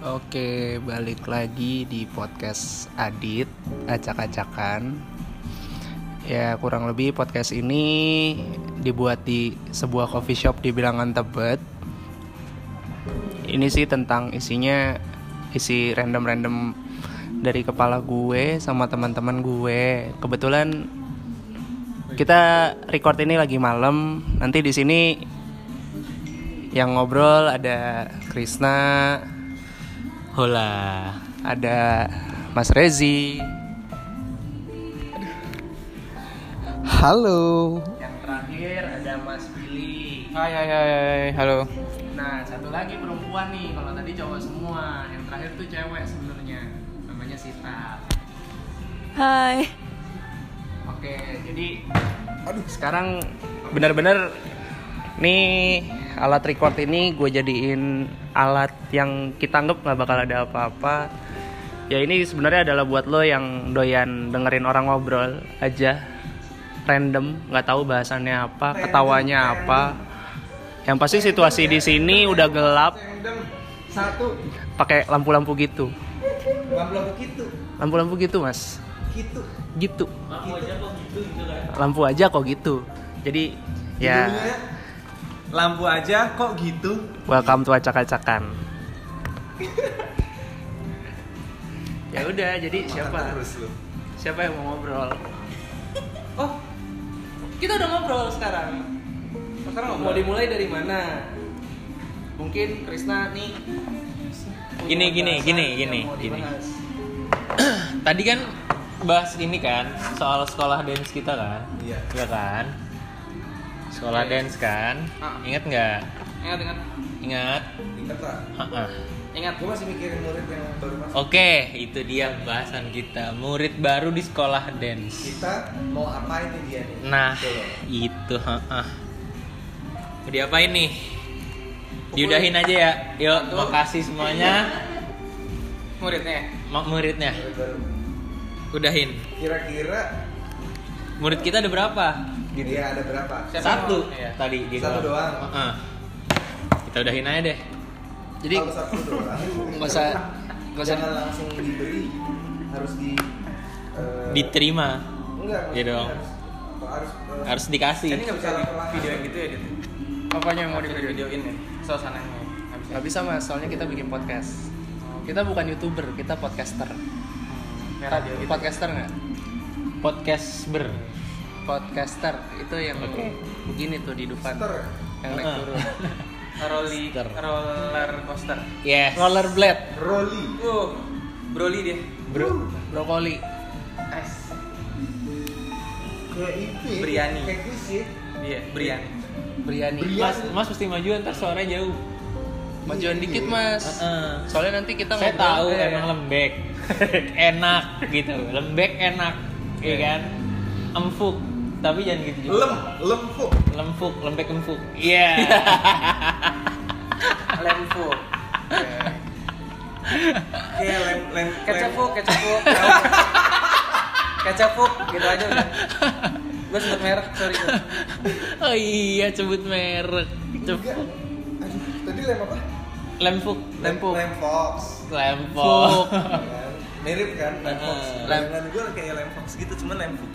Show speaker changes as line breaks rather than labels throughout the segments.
Oke, balik lagi di podcast Adit acak-acakan. Ya, kurang lebih podcast ini dibuat di sebuah coffee shop di bilangan Tebet. Ini sih tentang isinya isi random-random dari kepala gue sama teman-teman gue. Kebetulan kita record ini lagi malam. Nanti di sini yang ngobrol ada Krisna,
Hola.
ada Mas Rezi
Halo.
yang terakhir ada Mas Billy
Hai hai hai, hai. halo.
nah satu lagi perempuan nih kalau tadi cowok semua yang terakhir tuh cewek sebenarnya namanya Sita
Hai.
oke jadi sekarang benar-benar nih alat record ini gue jadiin alat yang kita anggap nggak bakal ada apa-apa ya ini sebenarnya adalah buat lo yang doyan dengerin orang ngobrol aja random nggak tahu bahasannya apa ketawanya apa yang pasti situasi di sini udah gelap
Satu,
pakai lampu-lampu gitu
belum begitu.
lampu-lampu gitu mas
Gitu.
gitu lampu aja kok gitu jadi ya
Judulnya, Lampu aja kok gitu.
Welcome to acak-acakan. ya udah, jadi siapa?
Terus lu.
Siapa yang mau ngobrol?
Oh,
Kita udah ngobrol sekarang.
sekarang
Mau dimulai dari mana? Mungkin Krisna nih. punya
Gini, gini,
bahasan
gini,
yang
gini,
mau
gini.
dibahas.
Tadi kan bahas ini kan soal sekolah dance kita kan?
Iya.
Iya kan? Sekolah
Oke.
dance kan?
Ah.
Ingat nggak?
Ingat, ingat,
Ingat.
Ingat lah,
Ha-ah.
ingat.
gue masih mikirin murid yang baru masuk.
Oke, itu dia bahasan kita. Murid baru di sekolah dance.
Kita mau apain nih dia nih?
Nah,
Gitu loh.
itu heeh. Mau diapain nih? Diudahin aja ya. Yuk, makasih semuanya.
Muridnya.
Ma- muridnya
Murid baru.
udahin.
Kira-kira
Murid kita ada berapa?
gitu. ya ada berapa?
Siapa
Satu
yang mau? Iya.
tadi dia
Satu
bilang.
doang.
Heeh. Kita udahin aja deh.
Jadi
Kalau satu doang,
nggak usah nggak usah
jangan langsung diberi, harus di eh,
Diterima.
Enggak,
Iya dong.
harus- Harus, eh,
Harus dikasih.
Ini nggak bisa di video gitu ya, Dit?
apanya yang
Nggak
mau
bisa
dibikin?
di-videoin ya, suasananya. Nggak bisa.
Gak bisa mas, soalnya kita bikin podcast. Kita bukan youtuber, kita podcaster.
Kayak radio gitu.
Podcaster nggak?
Podcast ber.
podcaster itu yang begini tuh di depan
Ter.
yang naik
Heeh.
turun
Rolly,
Coaster.
roller coaster.
Yes.
rollerblade
Roli.
Wow, Broly dia.
Bro.
brokoli
Ice.
Kayak itu. ya,
Briani.
Kayak kuisir.
Dia, Brian.
biryani
Biryani.
Mas, mas mesti majuan ntar suaranya jauh.
majuan dikit mas
Heeh.
soalnya nanti kita
Saya
ngobrol-
tahu
Eh,
emang lembek, enak gitu, lembek enak, ya kan? Empuk, tapi jangan gitu juga.
Iya. Lem, lempuk.
Lempuk, lembek empuk. Iya.
Lempo.
Kayak lem, lem, lem.
Kecapuk, kecapuk. Kecapuk, gitu aja udah. Gue sebut merek, sorry.
oh iya, sebut merek.
Enggak.
Cepuk,
Aduh, tadi lem apa?
lempuk, lempuk,
Lem Fox.
lempuk.
Kan? Mirip kan lem Fox.
Heeh.
Bayangan gue kayak lem Fox gitu, cuman lem Fox.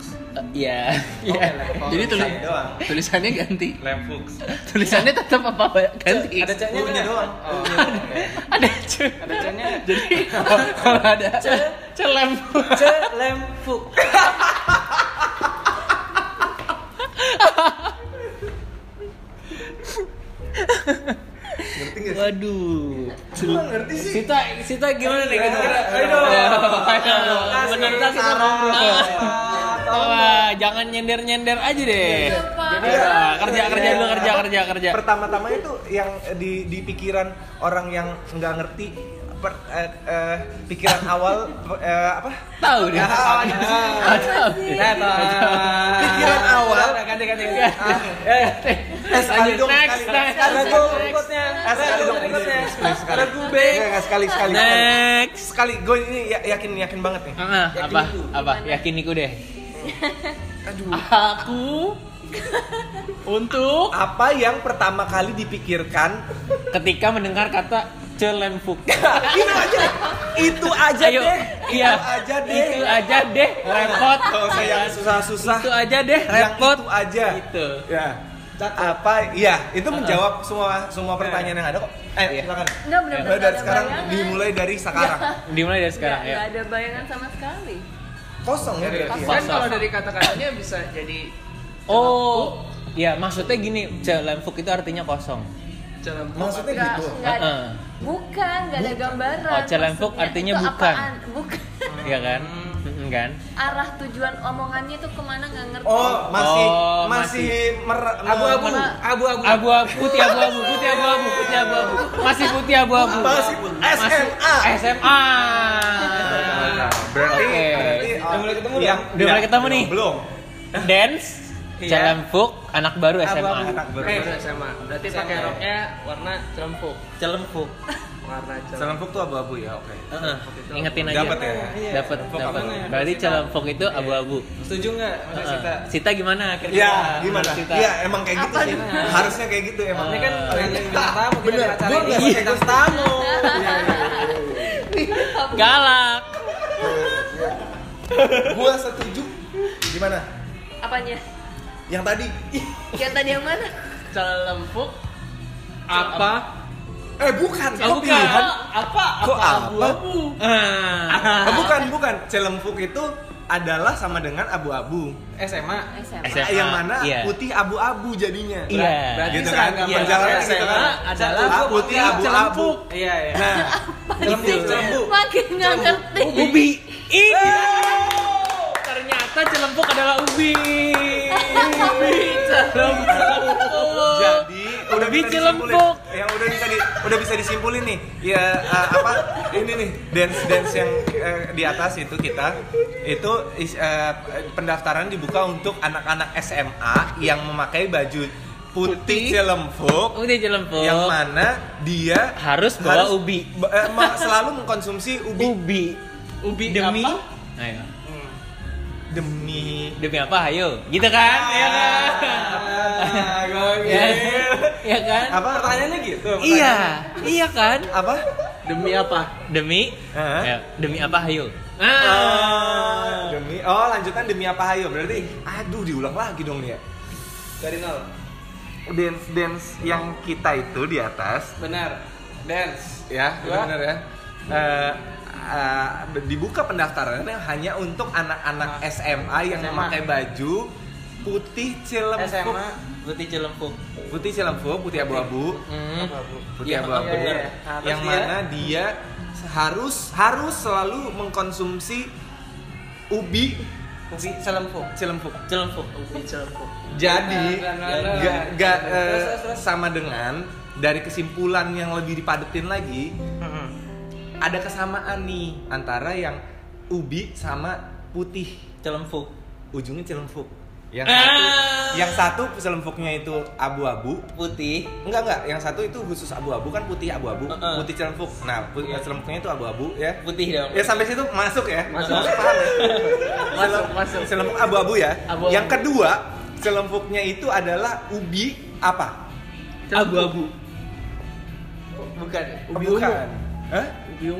Iya.
Oke,
Iya.
Lempo.
jadi tulis
Saya doang.
tulisannya ganti
Lempuk.
tulisannya tetap apa ganti
Ada C-nya
Punya
nggak?
doang.
Oh,
Punya
Ada ce,
Ada C-nya.
jadi kalau ada ce, ce lempuk.
Celempuk.
Ngerti gak sih?
Waduh.
Gue ngerti sih.
Sita, Sita
Iya.
gimana nih kira-kira?
Ayo Ah. dong.
Iya. Ayo dong.
Kasih
Menurut aku
saran.
ngobrol.
Iya. Tolong.
Wah,
Ah,
jangan nyender-nyender aja deh.
Jadi
Udah,
apa?
Ah, kerja kerja dulu kerja
Apa?
kerja kerja.
Pertama-tama itu yang di di pikiran orang yang nggak ngerti per- eh, eh, pikiran awal eh, apa?
Tahu deh.
Ah, ah. Pikiran awal.
Ganti, ganti,
Ah,
Eh,
sekali
lanjut,
dong,
next,
sekali.
next,
Sekali
next,
dong,
next.
berikutnya.
Eh, sekali
Lagu
dong,
berikutnya.
please, please,
Lagu
sekali.
B.
Nggak, nggak, sekali sekali
Next.
sekali gue ini ya- yakin yakin banget nih
Ah,
Yakin
apa?
aku.
Apa? Yakin iku deh.
aduh
Aku untuk
apa yang pertama kali dipikirkan
ketika mendengar kata Celenfuk.
itu aja itu aja
Ayo,
deh
iya.
itu aja deh
Itu aja deh, repot.
kalau saya yang susah-susah
Itu aja deh,
yang
repot.
itu aja
Gitu.
ya apa iya itu menjawab semua semua pertanyaan yang ada kok ayo
Iya.
silakan
Enggak benar-benar
dari
nggak ada
sekarang
bayangan.
dimulai Iya. dari sekarang
Dimulai dari
Nggak
sekarang ya.
nggak ada bayangan sama sekali.
kosong
Iya,
ya berarti ya
Kosong.
Kan kalau dari kata-katanya bisa jadi
Oh, ya maksudnya gini, Celenfuk itu artinya kosong.
dalam
maksudnya
Nggak,
gitu
nggak-
Heeh.
bukan, nggak ada gambaran.
Oh, celenfuk
Maksudnya
artinya
itu
bukan.
apaan? Bukan.
Iya kan? Mm, kan?
Arah tujuan omongannya itu kemana nggak ngerti.
Oh, masih
Oh,
masih mer-
Abu-abu,
mer-
abu-abu.
Abu-abu, putih abu-abu, putih abu-abu, putih abu-abu. Masih putih abu-abu.
Masih putih. SMA.
SMA.
berarti
Oke.
berarti
Udah
ah,
mulai ketemu
yang
belum?
Udah mulai ketemu nih?
belum
Dance,
Iya.
Celenfuk, anak baru SMA.
anak baru
Eh, SMA. Berarti
SMA.
pakai roknya warna celempuk.
Celenfuk.
Warna celempuk.
Selempuk tuh abu-abu ya oke
Heeh. Ingetin aja.
Dapat ya?
Iya.
Dapat,
Celenfuk
dapat.
apanya?
Berarti Celenfuk itu abu-abu.
Setuju nggak, Mas
Heeh.
Sita?
Sita gimana kira-kira?
Iya, gimana?
Sita.
Iya, emang kayak gitu
Apa
sih.
nih?
Harusnya kayak gitu emang.
Ini kan
Eh,
pengen bintang tamu, kita
Bener,
di acara
gua
ini Iya,
nggak
pakai
pakai
bintang tamu.
Galak.
Gua setuju. Gimana?
Apanya?
Yang tadi.
Yang tadi yang mana?
Celempuk
Apa?
Eh, bukan. Kok
Oh, bukan.
pilihan?
Apa?
Kok apa?
Ah.
Ah, bukan, bukan. Celempuk itu adalah sama dengan abu-abu.
SMA.
SMA.
SMA,
Yang mana
iya.
putih abu-abu jadinya.
Iya.
Berarti
Gitu kan?
seragam
Iya.
perjalanan
Gitu
SMA
kan? Ah,
adalah gua
putih
pakai
abu-abu.
celempuk. Iya, iya.
Nah,
Celempuk, celempuk.
Makin nggak ngerti.
Oh,
Ubi. Ih.
Iya.
Ternyata celempuk adalah ubi. Ubi celempuk.
jadi udah
Ubi
bisa disimpulin.
celempuk.
Yang udah bisa di, udah bisa disimpulin nih. Ya eh, apa ini nih dance dance yang eh, di atas itu kita itu is- eh, pendaftaran dibuka untuk anak-anak SMA yang memakai baju putih,
Putih.
celempuk
Udah celempuk.
yang mana dia
Harus bawa ubi.
ba- eh, ma- selalu mengkonsumsi ubi
Ubi. Ubi demi
apa?
Ayo.
demi
Demi apa? Ayo. Gitu kan? Ya kan?
Ah,
Ya,
Iya.
gokil.
ya kan?
apa
Pertanyaannya gitu.
Iya. Iya kan?
apa
Demi apa? Demi?
Hah?
Ya, Demi apa? Ayo.
Ah, demi oh lanjutan demi apa hayo berarti aduh diulang lagi dong nih ya
Dari nol.
dance dance yang kita itu di atas
Benar. Dance.
ya
Dua.
benar ya Eh, eh, dibuka pendaftarannya hanya untuk anak-anak SMA yang
SMA.
memakai baju putih celempuk
SMA.
Putih celempuk.
putih celempuk putih abu-abu
Hmm.
putih
Iya,
abu-abu
iya, iya. Nah, terus
yang
dia?
mana dia harus harus selalu mengkonsumsi ubi
Ubi celempuk.
celempuk
Celempuk.
ubi celempuk.
Jadi
Nah, nah, nah,
gak,
nah.
gak,
Terus,
eh,
terus, terus.
sama dengan dari kesimpulan yang lebih dipadetin lagi ada kesamaan nih antara yang ubi sama putih
Celempuk.
ujungnya celempuk. Yang
Ah.
satu yang satu celempuknya itu abu-abu.
Putih.
Enggak enggak, yang satu itu khusus abu-abu kan putih abu-abu,
Heeh.
putih celempuk. Nah, put-
Iya.
celempuknya itu abu-abu ya.
Putih dong.
Ya sampai situ masuk ya.
Masuk.
paham ya?
Masuk,
Celem-
masuk.
Celempuk abu-abu ya.
Abu-abu.
Yang kedua, celempuknya itu adalah ubi apa?
Abu-abu.
Bukan.
Ubi
ungu.
bukan. Hah?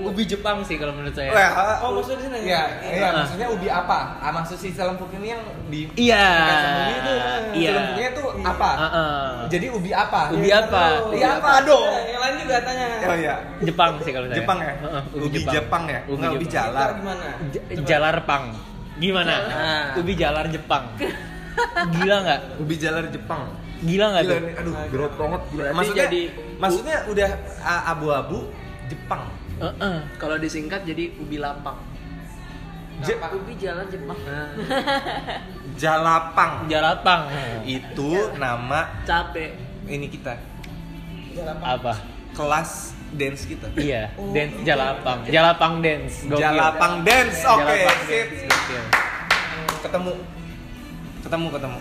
Ubi, Jepang sih kalau menurut saya.
Wah,
Oh, maksudnya di sana
Iya,
ya?
iya,
Ah.
maksudnya ubi apa? Ah, maksud si celempuk ini yang di
Iya.
bukan sama ubi itu.
Iya.
Celempuknya itu apa?
Heeh.
Jadi ubi apa?
Ubi apa?
Ubi apa Iya, dong?
Nah, Yang lain juga tanya.
Oh iya.
Jepang sih kalau saya.
Jepang ya?
Heeh,
ubi Jepang ya?
Ubi
Enggak, ubi
Jepang.
jalar.
Ntar Gimana?
J- jalar Pang. Gimana?
Ah.
Jalar.
Ubi jalar Jepang. Gila nggak?
Ubi jalar Jepang.
Gila nggak
Gila
tuh?
nih, aduh, gerot banget. gila.
Berarti
Maksudnya,
jadi-
maksudnya udah ah, abu-abu Jepang.
Heeh.
Kalau disingkat jadi ubi lapang.
Je- Nah.
Ubi jalan Jepang.
Jalapang.
Jalar Pang.
Itu nama
Capek.
ini kita.
Apa?
Kelas dance kita.
Iya,
Oh.
dance Jalapang. Jalapang dance. Gokil.
Jalapang dance. Oke,
Jalapang
sip.
dance. Gokil.
Ketemu. Ketemu ketemu.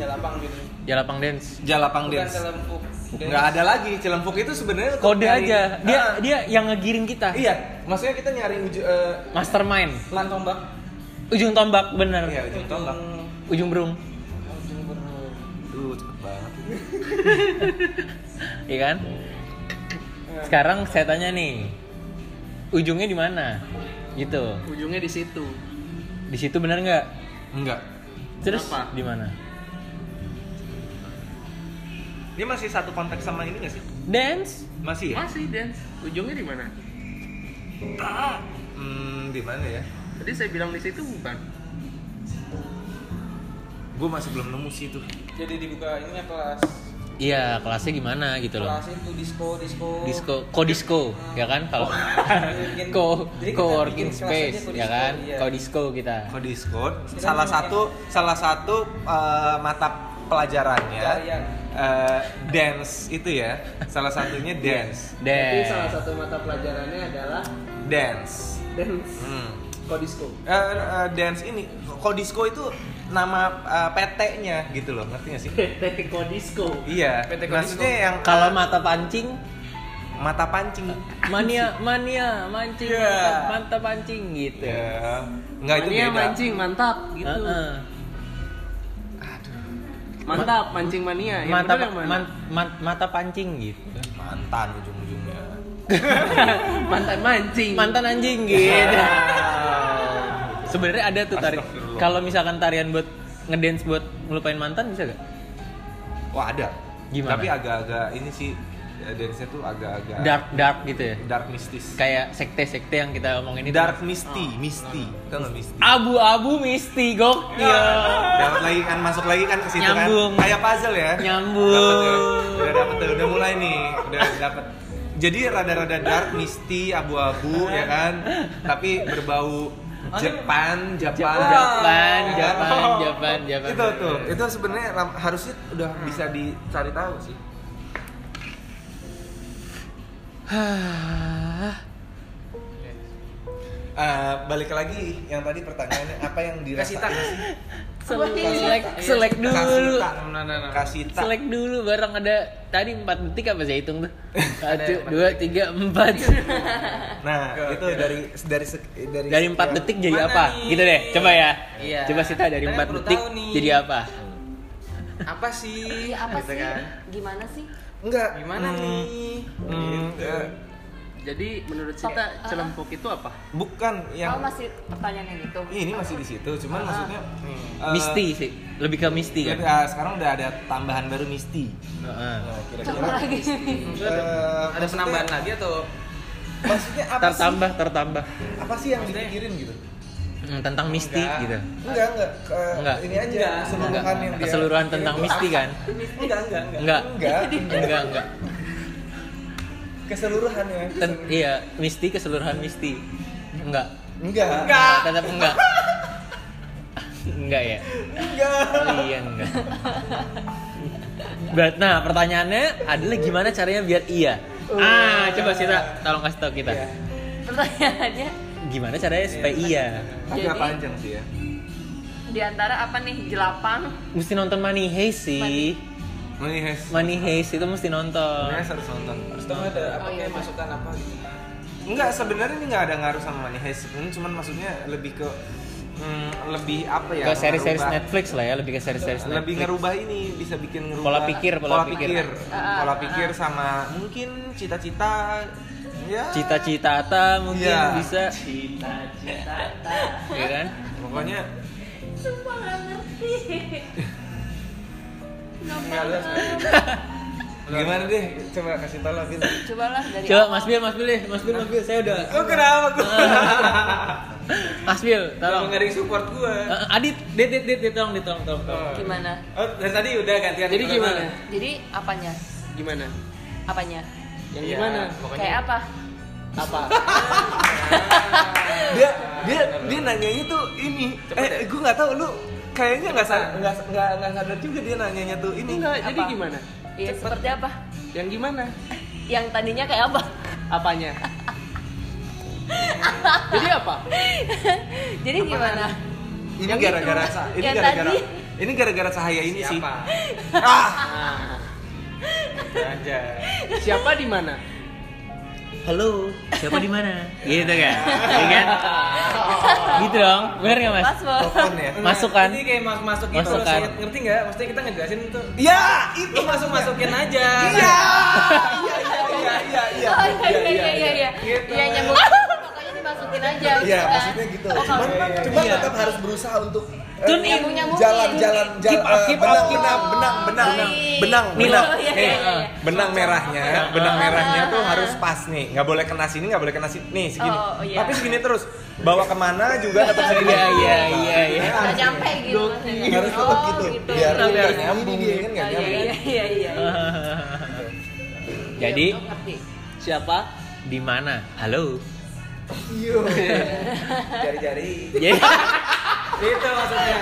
Ya lapang gitu.
Jalapang dance.
Jalapang
Bukan
dance.
celempuk.
Nggak ada lagi celempuk itu sebenarnya untuk
Kode
nyari-
aja. Iya. Dia
Ah,
dia yang ngegiring kita.
Iya, maksudnya kita nyari uju, eh,
Mastermind.
Lan tombak.
Ujung tombak bener.
iya, ujung tombak.
Ujung berung.
Ujung berung.
Duh, cepet banget.
Iya kan? Sekarang saya tanya nih, ujungnya di mana? Gitu.
Ujungnya di situ.
Di situ benar nggak?
Enggak.
Terus
Kenapa?
di mana?
Dia masih satu konteks sama ini gak sih?
Dance?
Masih
Iya.
ya?
Masih dance. Ujungnya di mana?
Hmm, di mana ya?
Tadi saya bilang di situ bukan.
Gue masih belum nemu sih itu.
Jadi dibuka ini kelas
Iya, kelasnya gimana gitu loh.
kelas itu disco disco.
Disco, ko disco, ya kan? Kalau
Bikin-
ko
jadi kita
co working
bikin kelas aja
space,
ko
ya
disco,
kan?
iya.
Ko disco kita.
Kalau di Discord, salah satu salah satu eh, mata pelajarannya
Pelarian.
eh, dance itu ya. Salah satunya dance,
Dance.
satu mata pelajarannya adalah
dance.
dance
Hmm.
kodisco.
Eh, eh, dance ini, Kodisco itu nama eh, PT-nya gitu loh, ngerti gak sih?
PT Kodisco.
Iya,
PT Kodisco.
maksudnya yang
Kalau mata pancing,
mata pancing.
mania, mania, mancing,
Iya.
mantap, mantap pancing gitu.
Ya, nggak itu
Mania
beda.
mancing mantap gitu.
Heeh.
Mantap mancing mania. Yang
mata
bener ya, yang mana?
man- man- mata pancing gitu.
Mantan ujung-ujungnya.
Mantan mancing. Iya.
Mantan anjing
Iya.
gitu.
Wow.
Sebenarnya ada tuh tarian.
Astagfirullah.
Kalau misalkan tarian buat ngedance buat ngelupain mantan bisa gak?
Wah ada.
Gimana?
Tapi agak-agak ini sih eh, dance-nya tuh agak-agak
Dark dark gitu ya.
dark mistis. Oh,
Kayak sekte-sekte yang kita omongin itu.
dark misty, misty. Tau nggak misty?
Abu-abu misti gokil.
Iya. Dapat lagi kan masuk lagi kan ke situ kan.
Iya. Nyambung.
Kayak puzzle ya.
Nyambung.
Dapet ya. Udah dapet tuh, udah mulai nih. Udah dapet. Jadi rada-rada dark, misty, abu-abu ya kan. Tapi berbau Jepang, Jepang.
Japan,
Ya kan?
Japan, Japan, Japan.
Itu tuh, itu sebenarnya lam- harusnya udah bisa dicari tahu sih.
Hah.
Eh, balik lagi yang tadi pertanyaannya apa yang dirasain?
Kasita.
Selek,
Iya.
selek dulu.
Kasita.
Nah, nah, nah.
Kasita.
Selek dulu barang ada tadi 4 detik apa saya hitung tuh? 1 2 3 4.
Nah,
Oke,
itu
oke.
dari dari sek- dari ya.
Dari
sekian-
4 detik jadi
Iya. Mana
apa?
nih?
Gitu deh, coba ya.
Iya.
Coba Sita dari
Saya
4
perlu
detik
tahu nih. Eh.
jadi apa?
Apa sih?
Iya apa
Gitu
sih?
kan.
Gimana sih?
Enggak.
Gimana
Hmm,
nih? Gitu.
hmm, eh,
Jadi menurut
Top-
Sita
ah.
celempuk itu apa?
bukan yang
Oh masih pertanyaannya gitu.
ini masih di situ,
Ah.
cuman maksudnya
Hmm.
eh,
Misti sih. Lebih ke misti
ya,
kan.
eh, sekarang udah ada tambahan baru Misti.
Heeh.
Nah,
Coba
kira-kira
lagi.
eh,
Ada
maksudnya-
penambahan lagi atau
Maksudnya apa sih?
Tertambah, tertambah.
Apa sih yang dipikirin gitu?
Hmm, tentang misti
Enggak.
gitu.
Enggak, enggak. eh,
Enggak.
Ini aja
Enggak.
keseluruhan yang
Enggak.
dia
Keseluruhan tentang misti kan?
enggak enggak enggak.
Enggak.
Enggak.
Enggak, enggak.
Keseluruhan ya.
Ten- iya, misti keseluruhan misti. Enggak.
Enggak.
Enggak.
Tetap enggak. enggak ya? Enggak. Iya, enggak. Berat. Nah, pertanyaannya adalah gimana caranya biar iya?
Oh.
Ah, coba Sita, tolong kasih tau
Iya.
kita.
Pertanyaannya
Gimana caranya supaya iya?
Agak
Jadi-
panjang sih ya.
di antara apa nih? Jelapang.
Mesti nonton Money Heist sih.
Money Heist. Iya.
Money Heist itu mesti nonton.
Sebenarnya harus nonton.
Terus tahu ada apa
Oh, iya,
kayak
iya.
masukan apa gitu.
Enggak, sebenarnya ini nggak ada ngaruh sama Money Heist. Ini cuman maksudnya lebih ke mm, lebih apa ya?
Ke seri-seri
ngerubah-
Netflix lah ya, lebih ke seri-seri Netflix.
Lebih ngerubah ini bisa bikin ngerubah
Pola pikir, pola pikir.
Ah,
Pola
ah,
pikir sama mungkin cita-cita ya.
Cita-cita Ata mungkin
Iya.
bisa. Cita-cita Iya kan?
Pokoknya
Sumpah nggak ngerti. Nggak
Nggak, lu harus
paham.
gimana deh? Coba kasih tau lah Vin.
Cobalah dari
Coba
awal.
Mas Bil, Mas Bil deh, Mas Bil, Mas Bil, saya udah
Lu kenapa gua?
Mas Bil,
Kalau
tolong.
enggak ada yang support gua.
Eh, eh, Adit, Dit, Dit, Dit, Dit, tolong, Dit, tolong, tolong. tolong.
Gimana?
Oh, dari tadi udah gantian.
Jadi
Pertama.
gimana?
Jadi apanya?
Gimana?
Apanya?
Yang
Iya,
gimana?
pokoknya
Kayak apa?
Apa?
dia dia dia nanyanya tuh ini
ya?
eh gue nggak tahu lu kayaknya nggak sadar nggak nggak nggak sadar juga dia nanyanya tuh ini
Enggak, jadi
Apa?
gimana?
Iya, seperti apa?
Yang gimana?
Yang tadinya kayak apa?
Apanya? jadi apa?
Jadi gimana?
ini
Yang itu.
gara-gara sa- ini
Yang
gara-gara
tadi.
ini gara-gara cahaya ini sih
Siapa?
ah
Aja.
Siapa di mana?
Halo, siapa di mana? gitu kan? Iya kan? gitu dong, bener nggak Mas?
Password.
telepon ya
Masuk kan?
Ini kayak masuk-masuk gitu loh,
Masukan.
Sid. Ngerti enggak? Maksudnya kita ngejelasin itu
ya itu
lu masuk-masukin aja.
iya iya iya iya iya
Oh iya iya iya iya.
Gitu.
Iya nyambung. Makanya dimasukin aja gitu
Iya,
kan.
maksudnya
eh,
gitu.
Oh,
Cuman,
kalau-
cuman
Iya.
tetap harus berusaha untuk eh,
Tune in.
Nyambung-nyambungin.
jalan-jalan
Keep up,
jalan
keep
benang,
up, keep
benang,
Benang, benang, benang, benang,
Baik.
benang, benang.
Oh, iya,
Nih,
iya, iya.
benang merahnya,
Oke.
benang merahnya tuh
Ah.
harus pas nih. Nggak boleh kena sini, nggak boleh kena sini. Nih segini.
Oh, oh, iya.
Tapi segini terus. Bawa kemana juga tetap segini. Nah,
Iya iya iya iya.
Nggak nyampe gitu maksudnya.
harus tetap
Oh,
gitu. Biar
Kenapa?
biar
Oh,
nyambung dia kan nggak
Iya
nyambung.
iya iya iya.
Jadi
Iya, ngerti.
siapa? Di mana? Halo.
Jari-jari.
Jadi
Itu maksudnya.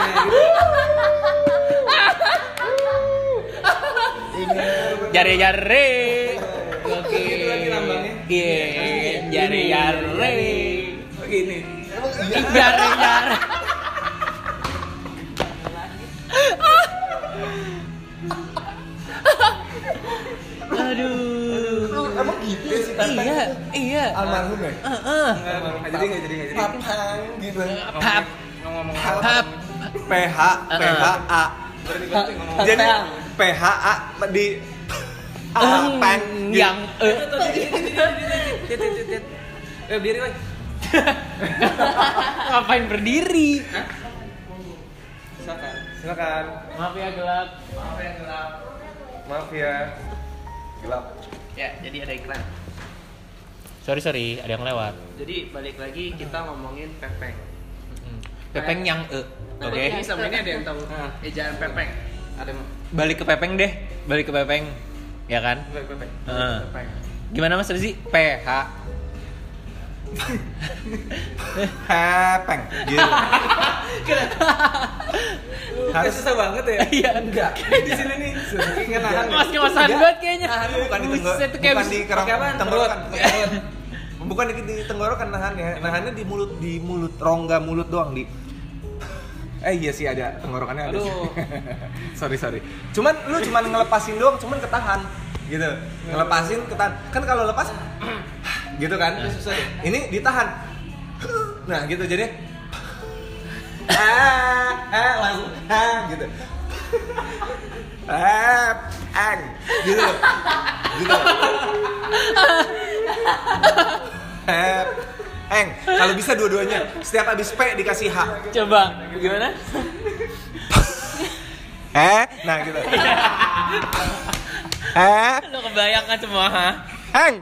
jari-jari. Oke.
Gitu lagi lambangnya.
Iya, jari-jari.
Gitu.
Begini.
Emang iya.
Ih, Jari-jari. Aduh.
Lu emang gitu ya si Tatang
Iya,
itu?
iya.
Almarhum ya?
Heeh.
Nggak jadi nggak jadi nggak jadi.
Papang gitu.
Pap,
Ngomong-ngomong.
pap.
PH,
Uh-uh.
PHA. Jadi PHA di Apang
yang eh
Eh berdiri woi.
ngapain berdiri?
Silakan. Silakan.
Maaf ya gelap.
Maaf ya. Gelap.
Ya, jadi ada iklan.
Sorry sorry, ada yang lewat.
Jadi balik lagi kita ngomongin pepeng.
Hmm. Pepeng yang eh. Oke.
Ini sama ini ada yang tahu ejaan pepeng.
Ah. Ada mau.
Balik ke pepeng deh. Balik ke pepeng. Ya kan?
Baik, baik, baik.
Heeh.
Pepeng.
Gimana Mas Rizky? PH.
Pepeng. Gitu.
Harus susah banget ya.
Iya enggak.
Di sini nih. Suzuki nggak nahan.
Mas kemasan banget kayaknya.
Nahan Nah, bukan di
Buset,
tenggorokan,
tuh kayak
bukan
abis-
di kerang,
Pakai apaan?
tenggorokan.
Perut. Perut.
Bukan di, di tenggorokan nahannya, nahannya di mulut, di mulut, rongga mulut doang di. Eh iya sih ada tenggorokannya ada. sih.
Aduh.
sorry sorry. Cuman lu cuman ngelepasin doang, cuman ketahan gitu. Ngelepasin ketahan. Kan kalau lepas gitu kan.
susah ya?
Ini ditahan. Nah gitu jadi. Ah, ah, langsung ah gitu. Ah, ang gitu. loh. Gitu. loh. Eh, Eng, kalau bisa dua-duanya. Setiap habis P dikasih H.
Coba gimana?
Eh, nah gitu. Eh,
Lo kebayang kan semua, ha?
Eng,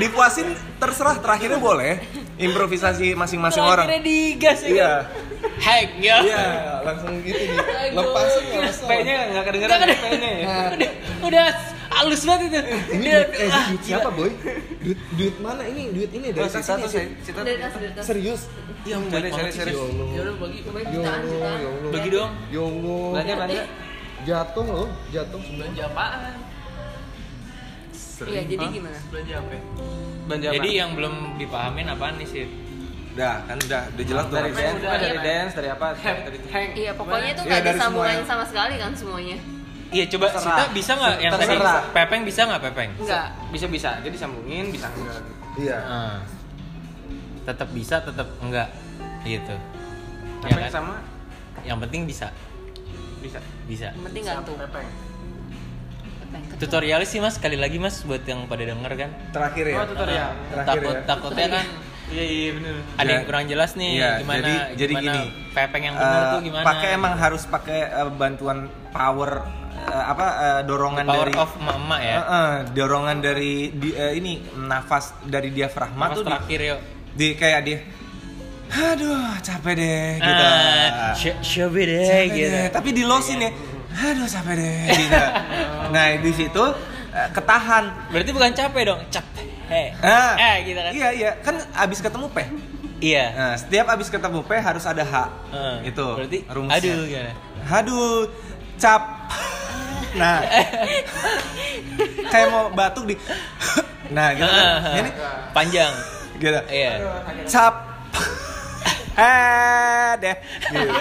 dipuasin terserah terakhirnya boleh. Improvisasi masing-masing orang.
Akhirnya digas ya. kan?
Iya,
Hack ya.
iya, langsung gitu di lepasin nggak masalah.
P-nya nggak kedengeran.
Udah, udah,
P-nya ya.
udah, udah halus banget itu.
Ini
Udah,
duit, eh,
ah,
duit siapa boy? Duit, duit mana ini? Duit ini dari
Terus
sini.
satu
sih.
cerita.
Dari tas, dari tas.
Serius?
Iya,
Cari,
banget
cari,
sih,
cari.
Jo.
Ya udah bagi, bagi ya Allah, ya Allah.
Bagi dong.
Ya Allah.
Belanja, belanja.
Jatuh loh, jatuh semua.
apaan?
Iya, jadi gimana?
Belanja apa? ya?
Belanja apa?
Jadi yang belum dipahamin apaan nih sih?
Udah, kan udah, udah jelas tuh.
dari dance,
udah,
dari
iya.
dance, dari apa? Dari
Iya, pokoknya itu
Iya,
nggak ada
dari
sambungannya
semuanya.
sama sekali kan semuanya.
Iya coba
Terserah.
Sita bisa nggak yang tadi
Terserah.
Pepeng bisa nggak Pepeng?
Enggak.
bisa bisa jadi sambungin bisa enggak
Iya.
Ah. Tetap bisa, tetap enggak gitu. Ya
Iya
tapi
kan?
sama
Yang penting bisa,
bisa
bisa.
Yang penting gantung.
pepeng
Tutorialnya sih Mas sekali lagi Mas buat yang pada denger kan. Ah,
Terakhir ya.
Oh, tutorial.
Terakhir
Takut
ya.
takutnya kan
iya iya benar
ada
Ya.
yang kurang jelas nih
Iya,
gimana
jadi- jadi
gimana
gini.
Pepeng yang benar
Eh,
tuh gimana?
Pakai emang harus pakai eh, bantuan power eh, apa eh, dorongan
power
dari
of mama ya.
Eh, eh, dorongan dari di- eh, ini nafas dari diafragma
Mas
tuh di,
terakhir yuk.
di- kayak dia aduh capek deh gitu.
Eh,
Ah, sh- show me deh,
Capek
gitu.
deh. Tapi di losin ya. Aduh capek deh gitu. nah, di situ eh, ketahan.
Berarti bukan capek dong, capek.
Ah,
eh gitu kan.
Iya, iya. Kan abis ketemu P.
Iya.
Nah, setiap abis ketemu P harus ada H.
Heeh.
Itu.
Eh, Ah. Berarti
rumusnya.
aduh gimana?
Haduh, cap. Nah, kayak mau batuk di. Nah,
Eh,
gitu. kan. Ini
Ah. panjang.
gitu.
Iya.
Cap. Eh, deh. Gitu.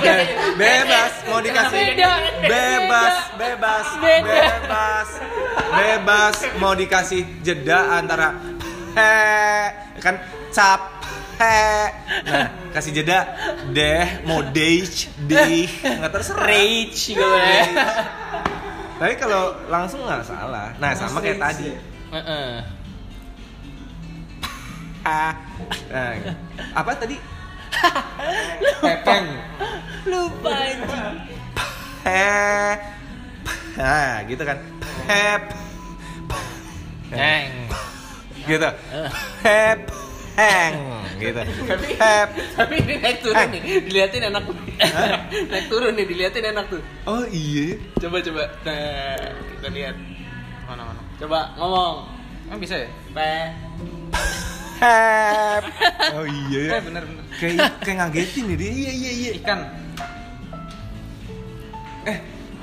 Be- bebas mau dikasih
Beda.
bebas bebas
Beda.
bebas bebas mau dikasih jeda antara eh kan cap eh nah kasih jeda deh mau deh deh nggak terserah
Rage gitu ya.
Tapi kalau langsung nggak salah. Nah sama kayak tadi.
Heeh.
Ah. Nah, apa tadi? Pepeng.
Lupa anjing.
Pep. Nah, gitu kan. Pep.
Neng.
Gitu. Pep. Peng. Gitu. Pep.
Tapi ini naik turun nih, diliatin anak. naik turun nih, diliatin anak tuh.
Oh iya.
Coba coba Nah, kita lihat. Mana mana. Coba ngomong.
Emang bisa ya?
Peh.
Pep. Oh iya.
Eh bener bener.
Kayak kayak ngagetin ya dia. Iya iya iya.
Ikan.
Eh,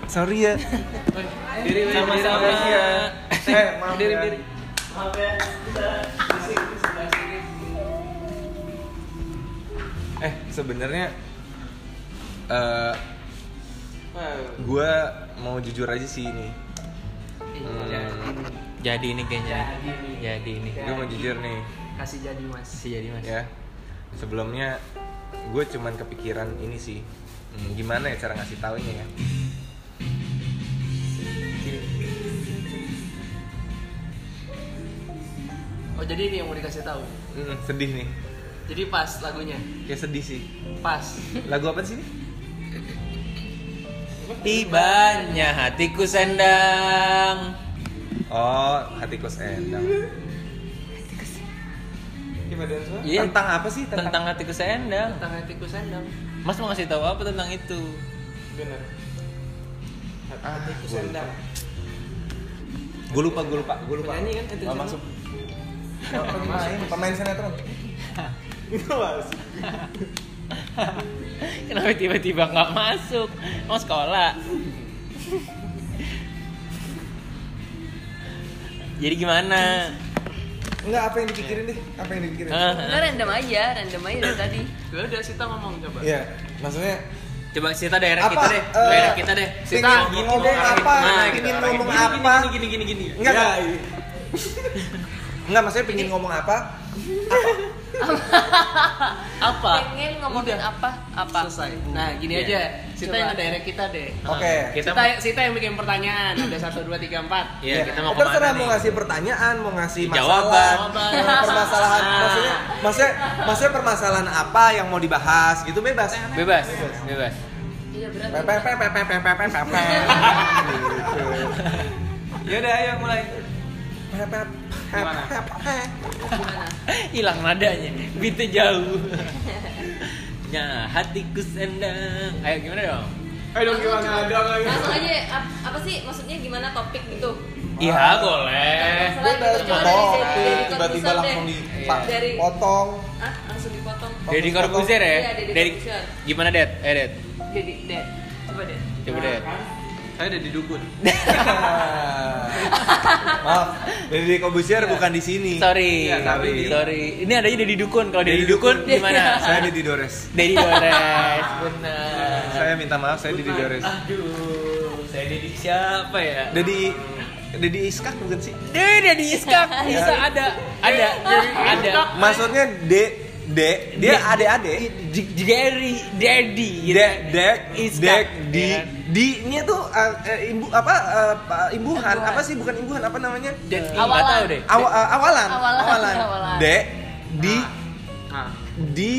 Sorry ya.
Diri diri, diri,
Sama-sama.
diri, ya.
Eh, maaf
Diri
ya.
diri.
Eh, sebenarnya eh
Wow.
gue mau jujur aja sih ini.
Iya,
Iya.
Hmm,
Jadi ini kayaknya. Jadi ini.
gue mau jujur nih.
Kasih jadi mas.
Masih jadi mas.
ya sebelumnya gue cuman kepikiran ini sih Hmm, gimana ya cara ngasih taunya ya
Oh jadi ini yang mau dikasih tahu.
Hmm, sedih nih
Jadi pas lagunya.
ya sedih sih
Pas.
lagu apa sih ini?
Tibanya hatiku sendang.
oh hatiku sendang
Iya.
tentang apa sih
Tentang,
tentang,
hatiku sendang.
Tentang hatiku sendang.
Mas mau ngasih tahu apa tentang itu?
Bener.
Ah,
Hatiku
gua
sendang.
gue lupa gue lupa gue lupa
Penyanyi kan itu
Oh,
sana.
masuk pemain pemain sinetron
Kenapa tiba-tiba nggak masuk? Mau sekolah. Jadi gimana?
enggak apa yang dipikirin deh apa yang dipikirin
Hah?
Kita random aja, random aja dari tadi.
Gue Ya udah Sita ngomong coba.
Iya, maksudnya
Coba Sita daerah
Apa?
kita deh,
Eh,
daerah kita deh.
Sita, ngomong
Nah,
arahin
apa?
kemana
Ingin
kita arahin.
ngomong
Gini, gini,
apa?
Gini gini gini.
enggak
Ya,
enggak enggak maksudnya pengen ngomong apa
Apa?
Pengen ngomongin apa? Apa?
Selesai. Nah gini
Iya.
aja. Sita
Coba.
yang daerah kita deh.
oke
Eh, Kita
Sita,
mau,
Sita yang bikin pertanyaan. Ada satu dua tiga empat.
ya,
Iya.
kita mau
Iya. Terserah
kemana
mau
nih?
ngasih pertanyaan, mau ngasih
Jawaban.
masalah,
Jawaban.
eh, permasalahan,
Ah.
maksudnya, maksudnya, maksudnya permasalahan apa yang mau dibahas gitu bebas.
Bebas, bebas.
Iya berat.
Pepe, pepe, pepe, pepe, pepe, pepe. Gitu.
Yaudah Ya ayo mulai.
Pepe,
Gimana?
pepe, pepe.
Gimana?
Hilang nadanya, beatnya jauh. Nah, hatiku sendang. Ayo gimana dong?
Ayo dong gimana ada lagi.
Langsung aja ap- apa sih maksudnya gimana topik gitu?
Iya
Ah.
boleh.
Gue
Masalah
udah
gitu, cuma
potong,
dari- dari- dari
tiba-tiba
concern
langsung
deh.
dipotong.
Dari-
potong.
Ah, langsung dipotong.
Deddy Corbuzier ya?
Iya, Deddy
Deddy-
Corbuzier.
Gimana Det? Eh Det,
Jadi, Dad, coba deh.
coba Det.
Nah, kan? Saya ada di dukun.
Maaf, Deddy Kobusier bukan di sini.
Sorry,
Iya,
tapi di-
sorry. Ini adanya Deddy Dukun. Kalau Deddy
Deddy
Dukun
Dukun.
Iya. gimana?
Saya Deddy Dores.
Deddy Dores, benar.
Saya minta maaf, saya Deddy Dores.
Aduh, saya Deddy siapa ya?
Deddy, Deddy Iskak bukan sih?
Deddy Deddy Iskak bisa ada, ada, ada.
Maksudnya D D dia
D. Iya.
adik-adik.
J- Jerry, Daddy, gitu.
Dek dek
Iskak,
dek
ya
di
kan?
di nya tuh eh, eh, imbu apa eh, pa- imbuhan apa sih bukan imbuhan apa namanya?
Dan
Awalan.
nggak tahu deh.
Aw- eh, awalan.
Awalan, awalan.
Dek di
Ah.
Nah,
di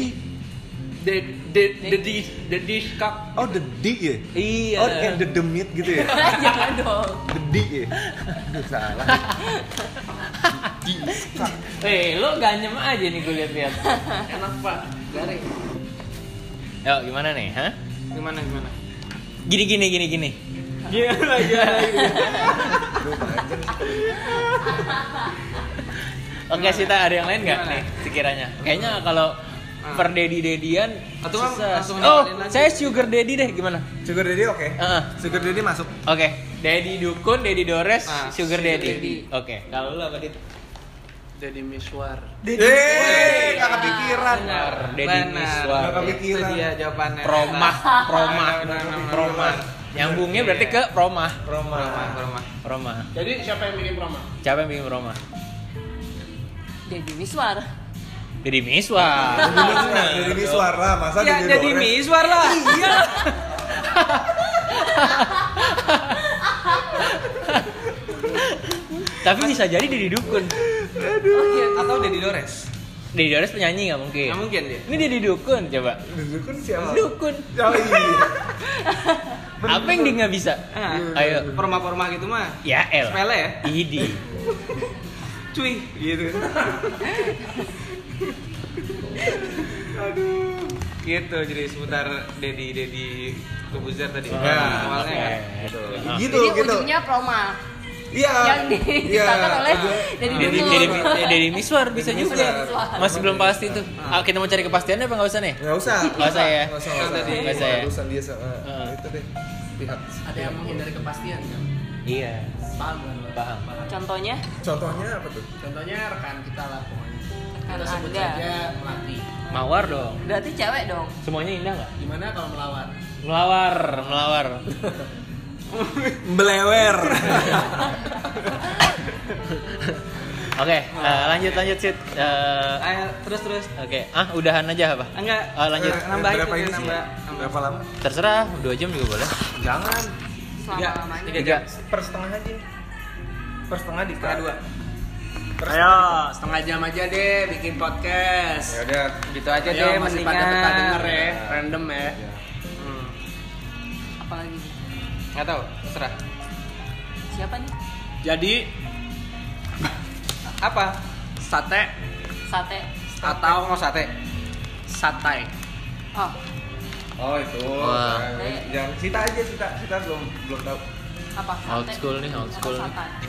Deddy Deddy Deddy Iskak.
oh the di ya.
Iya.
Oh kayak the demit gitu ya.
Jangan dong.
The di ya. Aduh salah. Di Iskak.
Eh, lo ganyem aja nih gue lihat-lihat.
Enak pak. Garing.
Yo, gimana nih, hah?
gimana gimana?
Gini gini gini gini.
Gimana gimana?
Oke, Sita ada yang lain nggak
Gimana?
nih sekiranya? Kayaknya kalau
Ah.
per daddy dedian
Atau kan
susah.
langsung
Oh,
ngenalin lagi.
saya sugar daddy deh gimana?
Sugar Daddy oke.
Heeh.
Sugar Daddy masuk.
Oke, daddy dukun, daddy dores,
Ah,
sugar
sugar
daddy.
daddy.
Oke. Kalau lu apa dit?
Jadi miswar.
Eh, gak kepikiran.
Benar,
Daddy Miswar.
Nggak kepikiran.
Itu dia jawabannya.
Promah, promah,
Benar, benar, benar.
promah. Nyambungnya berarti ke promah.
Roma.
Promah, promah.
Promah.
Jadi siapa yang bikin promo?
Siapa yang bikin promah?
Deddy Miswar.
Daddy Miswar.
Jadi ini suara masa
Ya
Deddy
jadi
Dores?
Miswar lah. Iya.
Tapi bisa jadi Didi Dukun.
Oh, iya,
Atau Deddy Dores.
Didi Dores penyanyi nggak mungkin.
Nggak mungkin dia.
Ini Didi Dukun coba.
Dulu kan siapa?
Dukun.
Oh iya.
Apa yang dia nggak bisa?
Ah,
Ayo.
Perma-perma gitu mah.
Ya El.
Sepele ya.
Idi.
Cuy gitu. Aduh. Gitu jadi seputar Dedi Dedi Kebuzer tadi.
Oh,
Nah, awalnya kan.
oke.
Gitu
Jadi
gitu.
ujungnya proma
Iya.
yang di-
Iya.
diciptakan oleh dari
Deddy
dulu.
Deddy Deddy Miswar bisa
Deddy
juga.
Miswar.
Masih belum pasti tuh. Ah, kita mau cari kepastiannya apa nggak usah nih?
Enggak usah.
Nggak usah ya?
Enggak usah.
Yang
Enggak
tadi.
Nggak usah
usah.
ya?
Urusan dia sama
Heeh.
itu deh. Pihak.
Ada yang menghindari kepastian kan?
Iya.
Paham kan? lo?
Paham.
Contohnya
Contohnya apa tuh?
Contohnya rekan kita lah pokoknya.
Rekan
Kita sebut
Anda.
saja melati.
Mawar dong.
berarti cewek dong.
Semuanya indah nggak?
Gimana kalau melawan?
Melawar, melawar.
Belewer.
Oke, eh, lanjut lanjut sit. Eh,
Ayo, terus terus.
Oke, ah udahan aja apa?
Enggak.
Ah, lanjut.
Eh, nambah
Berapa
itu,
ini sih?
nambah, nambah.
Berapa lama?
Terserah, dua jam juga boleh.
Jangan.
Selama lamanya.
Nah, tiga jam.
Per setengah aja. Per setengah Kan di
Setengah dua.
Ayo, setengah jam aja deh bikin
Ya
podcast.
udah.
Gitu aja
Ayo,
deh
masih
mendingan.
pada betah denger ya, random ya.
Hmm.
Apalagi
Nggak tahu, terserah.
siapa nih?
Jadi
Apa?
sate
Sate.
Atau mau sate?
satai.
Oh,
Oh itu.
Wah.
Eh, Jangan. Cita aja cita. Cita belum belum tahu.
apa? Sate.
Old school nih, old
Apa
school nih.
Sate.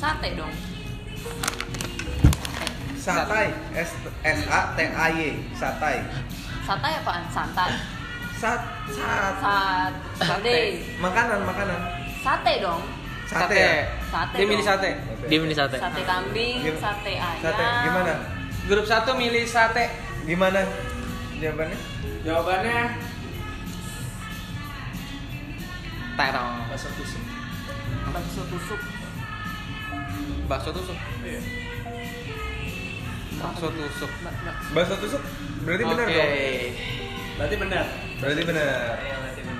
Sate dong.
Satai. S S A T A Y. Satai.
Sate apaan? Santai.
Sat sat.
Sat sate.
Makanan makanan.
Sate dong.
Sate. ya?
Sate
Dia milih
dong.
sate.
Dia milih sate.
Sate kambing,
Gim-
sate ayam.
Sate. Gimana?
Grup satu milih sate.
Gimana? Jawabannya?
Jawabannya
Terong.
bakso tusuk.
Bakso tusuk.
Bakso tusuk. Bakso tusuk.
Bak- bak-
Bahasa tusuk. Berarti benar
Oke.
dong.
Berarti benar.
Berarti benar.
Iya, berarti benar.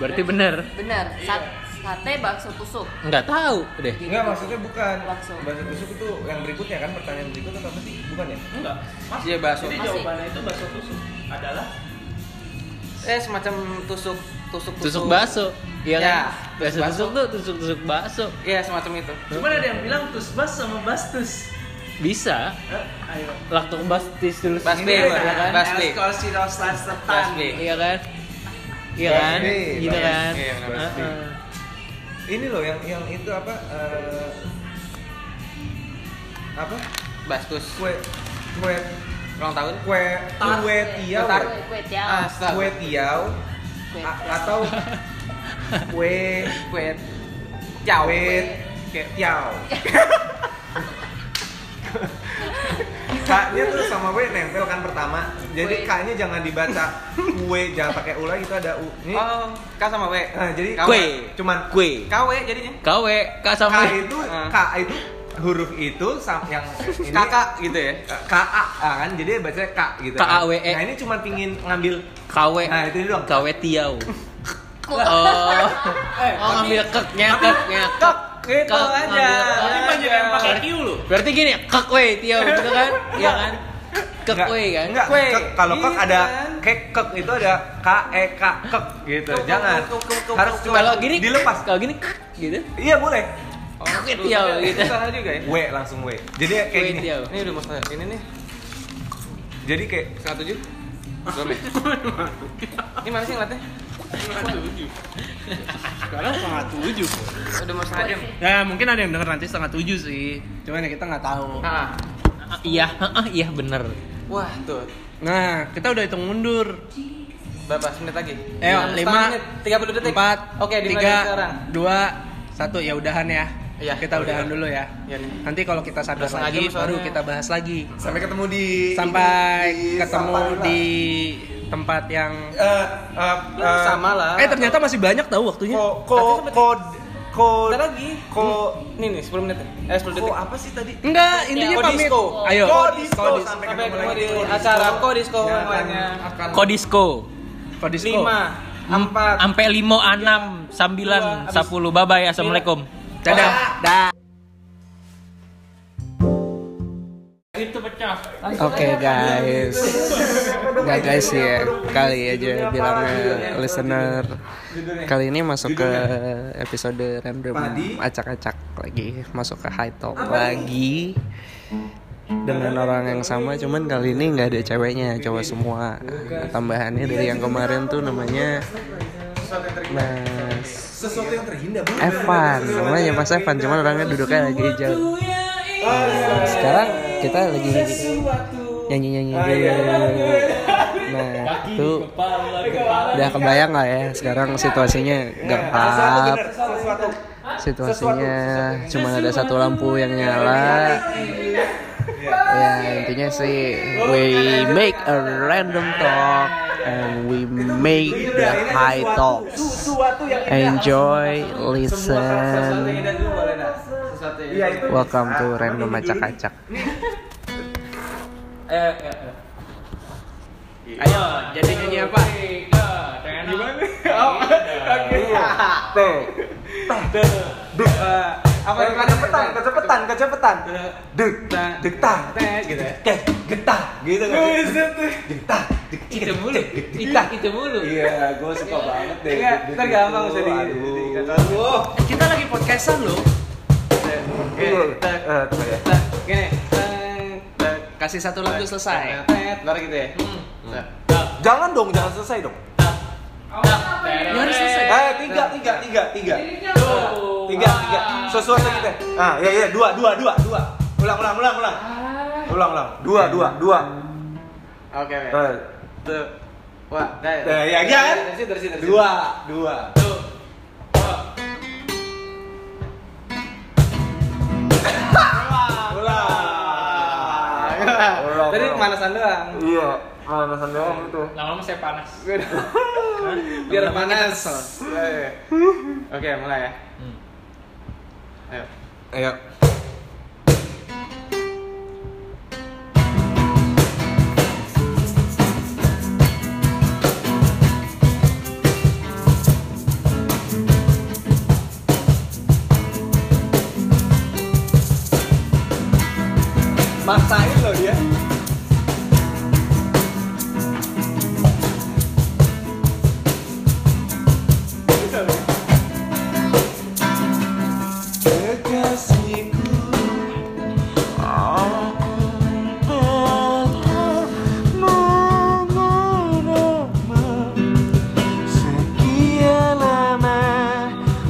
Berarti bener.
Bener. Sat- sate bakso tusuk.
Nggak tahu deh.
Enggak maksudnya bukan.
Bakso.
Bahasa tusuk itu yang berikutnya kan pertanyaan berikutnya apa sih? Bukan ya?
Enggak. Mas,
Iya, bakso.
Jadi
Masih.
jawabannya itu bakso tusuk adalah
Eh semacam tusuk tusuk
Tusuk bakso. Iya kan?
Ya,
Bakso
tusuk
tusuk tuh tusuk tusuk bakso.
Iya semacam itu.
Cuman ada yang bilang tusbas sama bastus.
Bisa.
Eh, ayo.
Laktobastis dulu.
Bas- Basbe, Bas- basbe. Basbe.
ya kan? Iya
Basbe,
kan? Iya kan? Gitu
basbe.
kan?
Iya, benar.
Heeh.
Ini loh yang yang itu apa? eh, apa?
Bastus.
Kue kue
Ulang tahun.
kue kue tiaw.
Tar.
Kue- Kue tiaw.
Ah,
Asal.
Kue tiaw
Kue
a-
tiaw.
atau kue
Kue. Ciao.
kue tiaw. Kaknya tuh sama W nempel kan pertama. Jadi
Kue.
kaknya jangan dibaca kue jangan pakai u lagi itu ada u. Ini
Oh, K sama W.
Nah, jadi
Kawe.
Kue.
cuman
Kue.
KW jadinya.
Kawe, kak
K
sama.
itu
Ah.
K itu huruf itu sam- yang ini
Kakak gitu ya.
KA ah, kan jadi bacanya K gitu. kan.
E.
KAWE.
Nah, ini cuma pingin ngambil
Kawe.
Nah, itu doang.
Kawe tiau.
Eh,
Kue-
Oh. Oh, ngambil kek, nyakek, nyakek.
Gitu
Kak,
aja.
ambil-
Tapi banyak yang pakai Q loh.
Berarti gini, kek we, tiau gitu kan? Iya kan? Kek
Nggak,
we kan?
Nggak,
Kue.
kek. kalau kek
Iya,
ada
kan?
kek kek itu ada K E K kek gitu.
Kuk, kuk,
Jangan.
kuk, kuk, kuk,
Harus
kuk.
cuma
Kalau gini
dilepas.
Kalau gini kek gitu.
Iya, boleh.
Oh,
Kue
dulu
tiaw
kan
gitu.
Salah juga ya.
W langsung W. Jadi kayak
Kue
gini.
tiau.
Ini udah masalah. Ini nih.
Jadi kayak
Setengah tujuh. Belum ya? Ini mana sih ngeliatnya?
Sekarang setengah tujuh.
Udah mau setengah jam.
Nah, mungkin ada yang denger nanti setengah tujuh sih. Cuman ya kita nggak tahu.
Ah,
Ah.
Iya, ah, iya bener.
Wah, tuh.
Nah, kita udah hitung mundur.
Berapa menit lagi?
Ayo,
Setengah
lima,
menit, 30 detik.
Empat,
Oke, dimulai
tiga,
dari sekarang.
dua, satu. Ya udahan ya.
Iya,
kita
udah.
udahan dulu ya.
Iya nih.
Nanti kalau kita sadar
Udah setengah
lagi,
jam
baru
soalnya.
kita bahas lagi.
sampai ketemu di
Sampai
di
ketemu
sampan Iya, lah.
di tempat yang.
Eh, eh, eh,
Sama lah.
Eh ternyata masih banyak tahu waktunya.
ko ko ko ko
Bentar lagi.
ko
Ini nih, 10 menit. ya? Eh,
ko
10 detik.
apa sih tadi?
Enggak, intinya
Kodisko.
pamit. Ayo.
Kodisko.
Kodis-
Sampai
Sampai
ketemu
ketemu
lagi.
di acara Kodisko
Jangan
lainnya.
akan
Kodisko.
Kodisko.
Lima, empat,
Ampe limo, enam, sembilan,
Dua, abis-
Iya,
sepuluh. Bye bye. Assalamualaikum.
Dadah. Dah.
Itu pecah.
Oke guys, nggak guys ya kali aja bilangnya listener kali ini masuk ke episode random acak-acak lagi masuk ke high talk lagi dengan orang yang sama cuman kali ini nggak ada ceweknya cowok semua tambahannya dari yang kemarin tuh namanya Mas
Sesuatu yang terhindar.
Eh,
bukan?
Evan namanya Mas Evan cuman orangnya duduknya lagi jauh Nah, sekarang kita lagi nyanyi nyanyi nah itu udah kebayang lah ya sekarang situasinya gelap situasinya cuma ada satu lampu yang nyala ya intinya sih we make a random talk and we make
Iya,
the high talks enjoy listen
Iya itu.
Welcome to Random Acak-Acak
Eh,
Ayo, jadi nyanyi apa?
Apa yang
Kecepetan, kecepetan, kecepetan. Dek, dek tang,
gitu ya.
dek, getah, gitu kan? Getah, dek,
Itu mulu.
Kita.
Itu mulu.
Iya, gue suka banget deh.
Enggak,
Dek,
ntar
dek,
gampang
gitu.
bisa di-
Aduh.
dikatakan. Wah.
Eh,
Kita lagi podcastan loh
Iya, eh, tunggu ya.
Gini.
Kasih satu lagu selesai
Baru gitu ya.
Jangan dong, jangan selesai dong.
Ya harus selesai
Eh, tiga, tiga, tiga, tiga. Tiga, tiga. Sesuatu kita. Ah, ya, ya, dua, dua, dua, dua. Ulang, ulang, ulang, ulang. Ulang, ulang. Dua, dua, dua.
Oke. oke.
Eh,
Tuh. Wah, dah.
Eh, ya, ya kan?
Dari situ, dari situ, dari situ.
Dua, dua.
Ulang.
Ulang,
Tadi
ulang.
pemanasan doang.
Iya, pemanasan doang itu.
Lama-lama saya panas.
Biar panas. Iya, iya. Oke, mulai ya.
Hmm.
Ayo.
Ayo. Maksain loh dia. Kekasihku Aku telah mengenalmu Sekian lama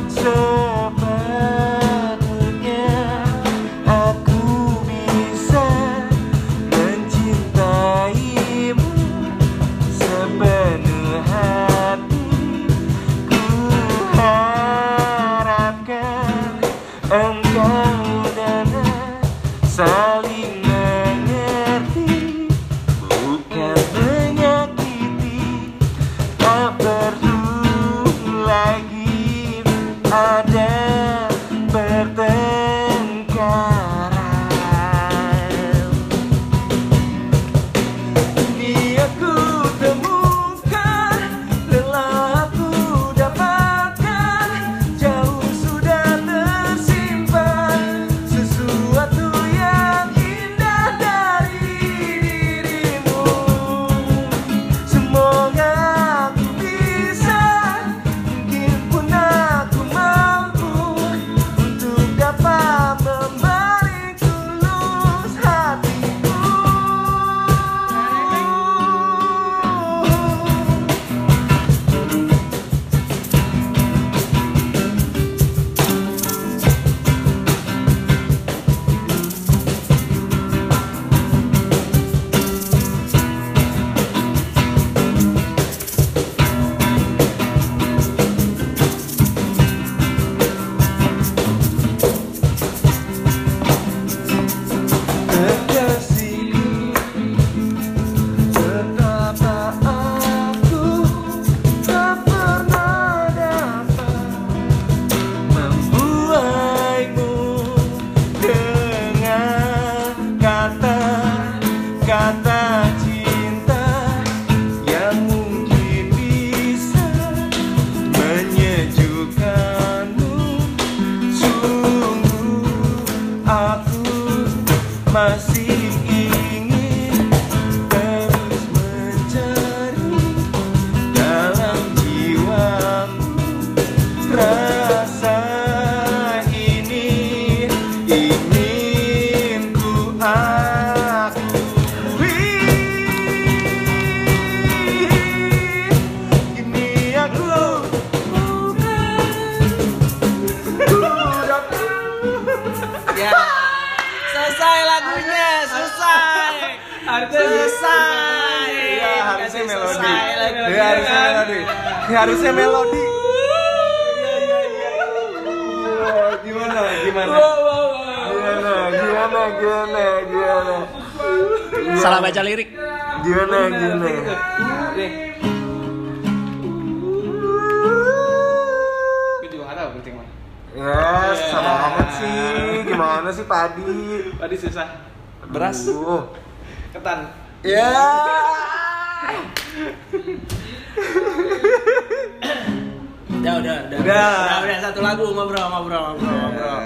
Sepatutnya Aku bisa Ya, melodi. Iya, harusnya melodi. Iya, harusnya melodi. Iya, iya, iya. Wah, Gimana? Gimana? Gimana? Gimana? Gimana? Gimana?
Salah baca lirik.
Gimana? Gimana?
Gue juara penting mah.
Ya, sama amat sih. Gimana sih tadi?
Tadi susah.
Beras.
Ketan.
Ya.
Udah, udah, udah.
Udah.
udah, udah, satu lagu ngobrol, ngobrol, ngobrol, ngobrol.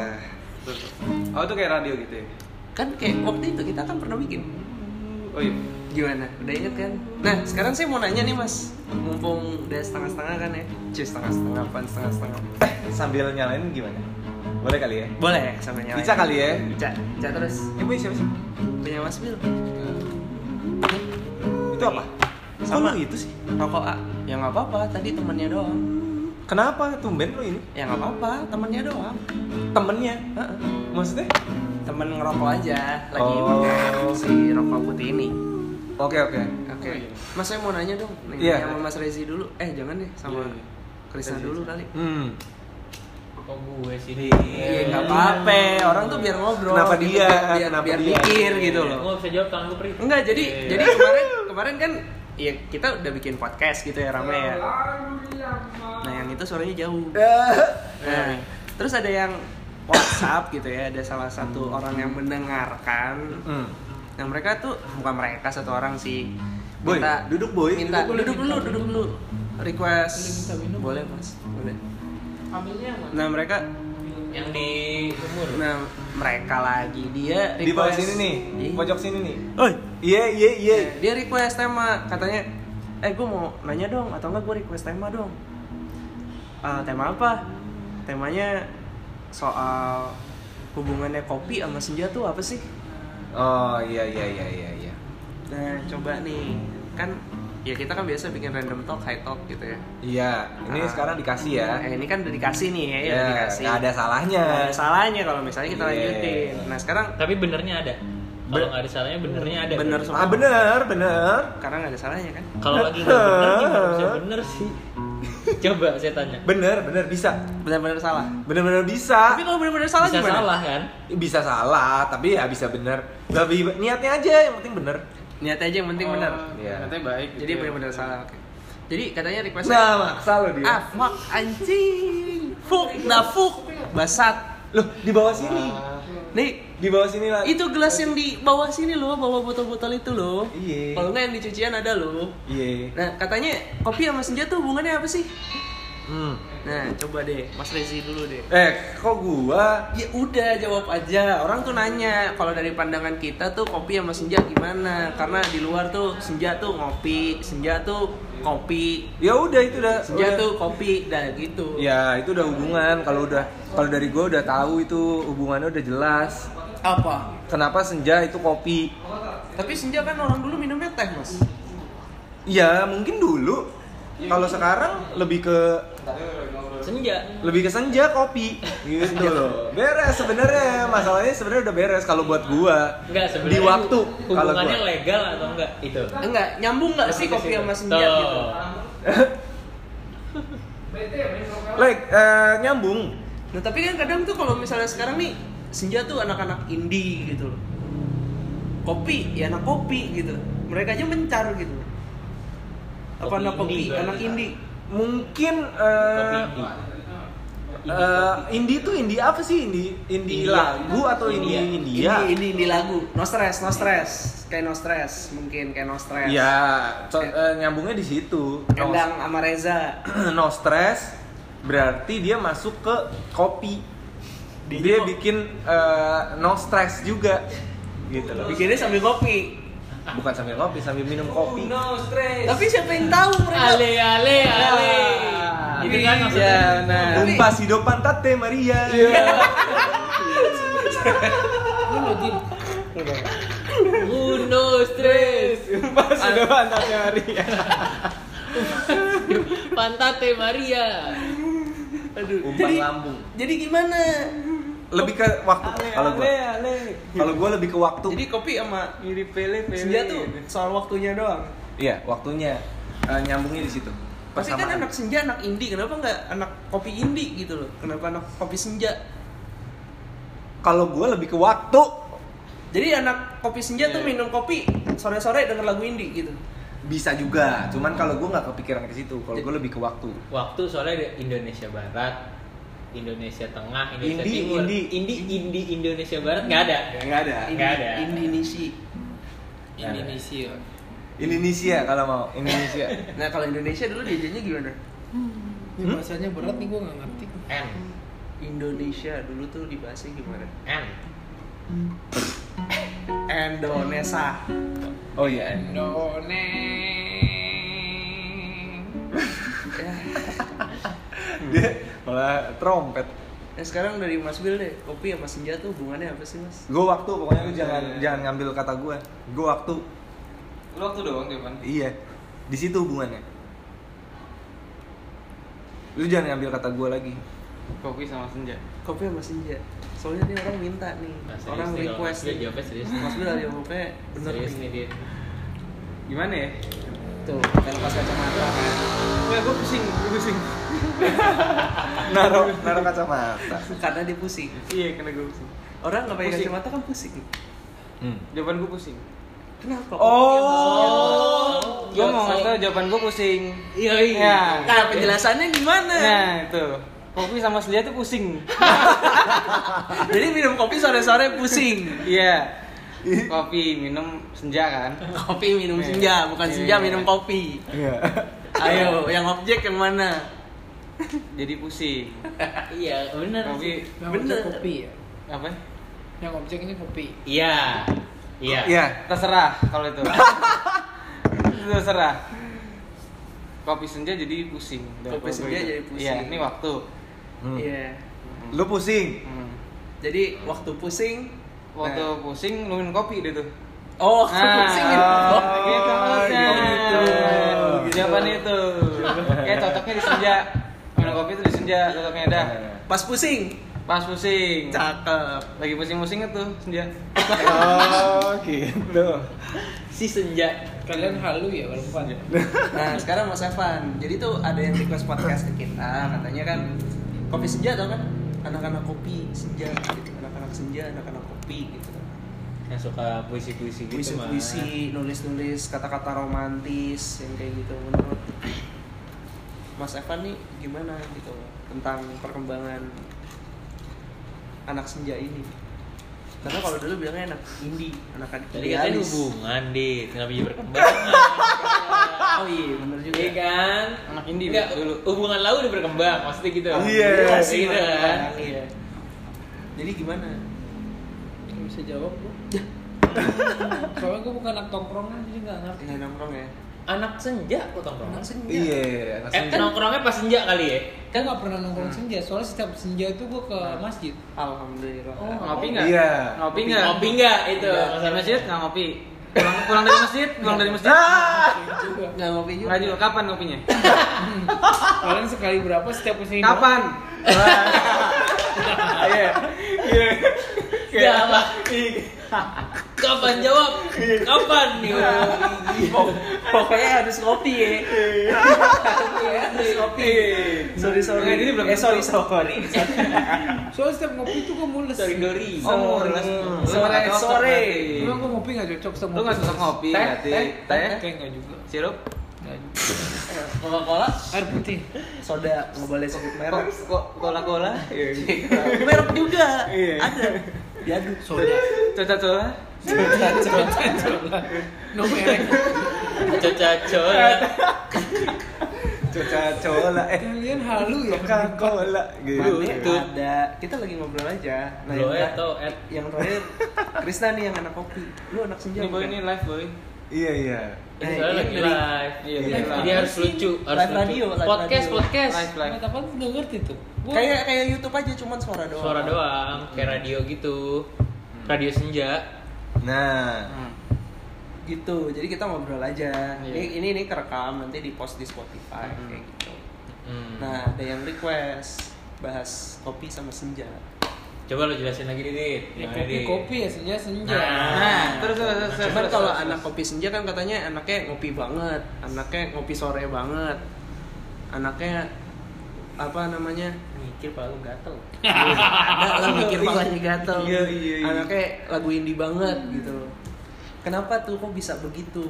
Oh itu kayak radio gitu ya?
Kan kayak waktu itu kita kan pernah bikin.
Oh iya.
Gimana? Udah inget kan? Nah, sekarang saya mau nanya nih mas, mumpung udah setengah-setengah kan ya? Cuy, setengah-setengah, apaan setengah-setengah?
Eh, sambil nyalain gimana? Boleh kali ya?
Boleh sambil nyalain.
Ica kali ya?
Ica, Ica terus.
Eh, punya siapa sih?
Punya mas Bill.
Itu apa? Kok
Sama.
lu itu sih?
Rokok A. Ya nggak apa-apa, tadi temennya doang.
Kenapa tumben lu ini?
Ya nggak apa-apa, temennya doang.
Temennya?
Heeh.
Maksudnya?
Temen ngerokok aja, lagi
Oh.
pakai si rokok putih ini.
Oke, oke.
Oke.
Oh, iya.
Mas saya mau nanya dong, nih,
Iya.
sama Mas Rezi dulu. Eh jangan deh, sama
Iya,
Krisna dulu kali.
Hmm.
Kok gue sih?
Iya nggak apa-apa, orang tuh biar ngobrol.
Kenapa
gitu,
dia?
Biar,
Kenapa
biar
dia?
mikir gitu
Gue
Iya.
loh.
nggak bisa jawab tangan gue perih.
Enggak, jadi
Iya.
jadi kemarin kemarin kan
iya,
ya kita udah bikin podcast gitu ya rame ya. Nah yang itu suaranya jauh.
Iya.
Nah, terus ada yang WhatsApp gitu ya, ada salah satu orang yang mendengarkan.
Hmm.
Nah mereka tuh bukan mereka satu orang sih.
Boy,
Minta
duduk boy. Duduk,
minta
boy.
duduk dulu, duduk dulu. Request boleh mas, boleh.
Ambilnya yang mana?
Nah mereka,
Yang di umur.
nah mereka lagi dia request
Di bawah sini nih,
Iya.
pojok sini nih.
Oi,
Iya, iya, iya.
dia request tema katanya, eh gue mau nanya dong atau enggak gue request tema dong. Eh, tema apa? Temanya soal hubungannya kopi sama senja tuh apa sih?
Oh, iya, iya, iya, iya, iya.
Nah coba nih kan ya kita kan biasa bikin random talk, high talk gitu ya.
Iya, ini
Ah.
sekarang dikasih ya.
Nah, ini kan udah dikasih nih ya, udah
Ya,
dikasih.
nggak ada salahnya.
Nggak ada salahnya kalau misalnya kita
Iya.
lanjutin. Nah sekarang
Tapi benernya ada. Kalau nggak ada salahnya benernya ada.
bener semua.
Ah, bener, bener.
Karena nggak ada salahnya kan?
Kalau lagi nggak gitu, bener nih nggak bisa bener sih. Coba saya tanya.
Bener, bener bisa.
Benar-benar salah.
Bener-bener bisa.
Tapi kalau benar-benar salah
bisa
gimana?
salah kan?
Bisa salah, tapi ya bisa bener. Lebih niatnya aja yang penting bener.
Niatnya aja yang penting benar.
Iya.
Nanti baik. gitu
Jadi
ya.
benar-benar salah. Oke. Jadi katanya request
Nah, maksa lo dia.
ah fuck anjing, fuck dah fuck basat.
Loh, di bawah sini.
Ah. Nih
Di bawah sini lah.
itu gelas yang di bawah sini loh, bawa botol-botol itu loh.
Iya.
Kalau nggak yang dicucian ada loh.
Iya.
Nah katanya kopi sama senja tuh hubungannya apa sih?
Hmm.
Nah coba deh, Mas Rezi dulu deh.
Eh, kok gua
Ya udah jawab aja. Orang tuh nanya kalau dari pandangan kita tuh kopi sama senja gimana? Karena di luar tuh senja tuh ngopi, senja tuh kopi,
ya udah itu udah udah.
senja tuh kopi, dah gitu.
Ya, itu udah hubungan. Kalau udah kalau dari gua udah tahu itu hubungannya udah jelas.
Apa?
Kenapa senja itu kopi?
Tapi senja kan orang dulu minumnya teh mas.
Ya, mungkin dulu. Kalau sekarang lebih ke
Senja.
lebih ke senja kopi gitu loh. Beres sebenarnya. Masalahnya sebenarnya udah beres kalau buat gua.
Enggak
Di
sebenarnya.
waktu kalau
Hubungannya
gua.
legal atau enggak itu?
Enggak, nyambung nggak sih kopi sama senja gitu?
Tuh.
Like eh, nyambung.
Nah tapi kan kadang tuh kalau misalnya sekarang nih senja tuh anak-anak indie gitu loh. Kopi ya anak kopi gitu. Mereka aja mencar gitu. Apa
Kopi
anak kopi,
indie berarti.
anak indie.
Mungkin eh,
Kopi.
eh, indie tuh indie apa sih indie? Indie
India.
lagu atau
India.
indie
Ini
India?
ini ini lagu. No stress, no stress. Kayak no stress mungkin kayak no stress.
Iya.
Ya, co- eh, nyambungnya di situ. No,
Endang sama Reza.
no stress berarti dia masuk ke kopi. Dia, bikin eh, no stress juga. Gitu loh.
Bikinnya sambil kopi.
Bukan sambil kopi, sambil minum kopi.
Tapi siapa yang tahu mereka?
Ale ale ale.
Iya. Ah,
Itu kan maksudnya. Iya.
nah.
Umpas iya, hidupan tate Maria. Iya.
Uno stress. Ah.
Umpas hidupan tate Maria.
Pantate Maria.
Aduh.
Umpan
Jadi
lambung.
jadi gimana?
Lebih ke waktu kalau gua. Kalau gua lebih ke waktu.
Jadi kopi sama
Mirip pele pele.
senja tuh soal waktunya doang.
Iya, waktunya. eh, nyambungnya di situ.
Pasti kan
Persamaan.
anak senja, anak indie, kenapa nggak anak kopi indie gitu loh? Kenapa anak kopi senja?
Kalau gue lebih ke waktu.
Jadi anak kopi senja tuh minum kopi sore-sore denger lagu indie gitu.
Bisa juga, cuman kalau gue nggak kepikiran ke situ. Kalau gue lebih ke waktu.
Waktu soalnya ada Indonesia Barat, Indonesia Tengah, Indonesia
Indi,
Timur.
Indi.
Indi, Indi, Indonesia Barat nggak ada.
Nggak ada.
Nggak ada.
Indonesia.
Nggak ada.
Indonesia.
Indonesia kalau mau Indonesia.
Nah kalau Indonesia dulu diajarnya gimana?
Ini bahasanya berat nih gue nggak ngerti.
N,
Indonesia dulu tuh dibahasnya gimana?
N.
Indonesia.
Oh iya.
Done.
Dia malah trompet.
Nah sekarang dari Mas Bill deh, kopi sama senja tuh hubungannya apa sih Mas?
Gue waktu pokoknya lu jangan jangan ngambil kata gue. Gue waktu.
Lu waktu doang Devan.
Iya. Di situ hubungannya. Lu jangan ngambil kata gue lagi.
Kopi sama senja.
Kopi sama senja. Soalnya nih orang minta Nah, nih,
Nah,
orang request
Dia
nih.
jawabnya serius.
Mas Bill dari OP bener
Serius nih
nih.
dia.
Gimana ya?
Tuh, kan lepas kacamata kan.
Wah, gue pusing, gue pusing.
Naruh naruh kacamata.
Karena dia pusing.
Iya, karena gue pusing.
Orang nggak pakai
Pusing.
kacamata kan pusing.
Jawaban gue pusing.
Kenapa?
Oh, gue mau ngasih tau
Yoi.
jawaban gue pusing.
Yoi.
Ya.
Nah, penjelasannya gimana?
Nah, itu. Kopi sama senja tuh pusing.
Jadi minum kopi sore-sore pusing.
Iya. Kopi minum senja kan?
Kopi minum senja, bukan
Iya.
senja minum kopi.
Iya.
Ayo, yang objek yang mana?
Jadi pusing.
Iya, bener. sih.
Kopi
Yang
Bener.
objek kopi ya.
apa?
Yang objeknya kopi.
Iya. Iya.
Iya.
Terserah kalau itu. Terserah. Kopi senja jadi pusing. Udah,
Kopi
kalau
senja
gue
jadi
itu.
pusing.
Iya, ini waktu.
Hmm.
Iya.
Lu pusing.
Hmm.
Jadi waktu pusing
Waktu
Nah.
pusing nungguin kopi deh tuh.
Oh,
Ah.
pusing gitu.
oh, gitu maksudnya.
gitu. Gitu.
Jawaban itu. Kayak cocoknya di senja. Minum kopi itu di senja cocoknya dah.
Iya.
Pas pusing.
Pas pusing.
Cakep.
Lagi pusing-pusingnya tuh senja.
Oh, gitu.
Si senja.
Kalian halu ya kalau bukan.
Nah, sekarang Mas Evan. Jadi tuh ada yang request podcast ke kita, katanya kan kopi senja tau kan? Anak-anak kopi senja gitu. Anak-anak senja, anak-anak kopi gitu.
Yang suka puisi-puisi gitu. Mas.
Puisi-puisi, nulis-nulis kata-kata romantis yang kayak gitu menurut Mas Evan nih gimana gitu tentang perkembangan anak senja ini. Karena kalau dulu bilangnya anak indie, anak adik
Tadi katanya
idealis.
hubungan deh, kenapa jadi berkembang?
Oh iya, bener juga.
Iya kan?
Anak indie
Enggak,
dulu.
hubungan lau udah berkembang, maksudnya gitu.
Iya.
Maksudnya gitu kan.
Iya. Jadi gimana? Iya.
Gak bisa jawab gue. Soalnya gue bukan anak tongkrongan jadi nggak ngerti.
Ini nongkrong ya.
Anak senja kok tongkrongan.
Anak senja.
Iya, anak
Eh,
senja.
kan nongkrongnya pas senja kali ya? Hmm.
Kan nggak pernah nongkrong senja. Soalnya setiap senja itu gue ke masjid.
Alhamdulillah.
Oh.
Ngopi nggak?
Iya.
Ngopi nggak?
Ngopi enggak itu?
Ke
Masalah
masjid kan nggak Iya. ngopi. Pulang, pulang dari masjid, pulang dari masjid.
Juga.
Nggak ngopi juga.
Nggak juga. Kapan ngopinya?
Kalian sekali berapa setiap pusing?
Kapan?
Enggak apa. Kapan jawab? Kapan nih?
Pokoknya harus ngopi ya.
Iya.
harus ngopi. Sorry sorry.
Nggak, jadi belum
eh sorry sorry.
Soalnya setiap ngopi itu gue mules.
Sorry Dori.
Oh,
Sore sore.
Emang gue ngopi nggak cocok sama
Lu nggak cocok ngopi,
Teh,
berarti
teh,
teh,
Kayak nggak juga.
sirup,
Nggak juga.
Coca Cola,
Air putih.
soda nggak boleh sebut merek.
cola cola,
merek juga. Ada. Diaduk.
Soda.
coca cola,
No merek.
Coca-cola.
Coca cola eh
Kalian halu ya.
Coca cola gitu.
Mane
Tuh.
ada. Kita lagi ngobrol aja. Nah,
Lo
ya,
yang,
atau at
yang terakhir Krisna nih yang anak kopi. Lu anak senja.
ini boy
bukan?
ini live boy,
Iya, iya.
Nah,
Eh,
Soalnya
ini
lagi
dari-
live.
iya
Iya.
live.
Jadi harus lucu, harus
Live
lucu.
radio, live
podcast,
radio.
podcast.
live live,
Apa tuh nggak ngerti tuh. Gua-
Kayak kayak YouTube aja cuman suara doang.
Suara doang, kayak
Hmm.
radio gitu. Radio senja.
Nah,
Gitu. Jadi kita ngobrol aja.
Iya.
Ini ini ini kerekam nanti di post di Spotify kayak gitu.
Hmm.
Nah, ada yang request bahas kopi sama senja.
Coba lo jelasin lagi nih, Dit.
Ya,
Gimana,
Nah,
kopi
Dit?
kopi ya senja senja.
Nah,
terus terus terus.
terus,
Cuman
terus,
kalau
terus,
anak
terus.
kopi senja kan katanya anaknya ngopi banget, anaknya ngopi sore banget, anaknya apa namanya mikir palu gatel ada lah mikir palanya gatel
Iya, iya, iya.
anaknya lagu indie banget gitu loh kenapa tuh kok bisa begitu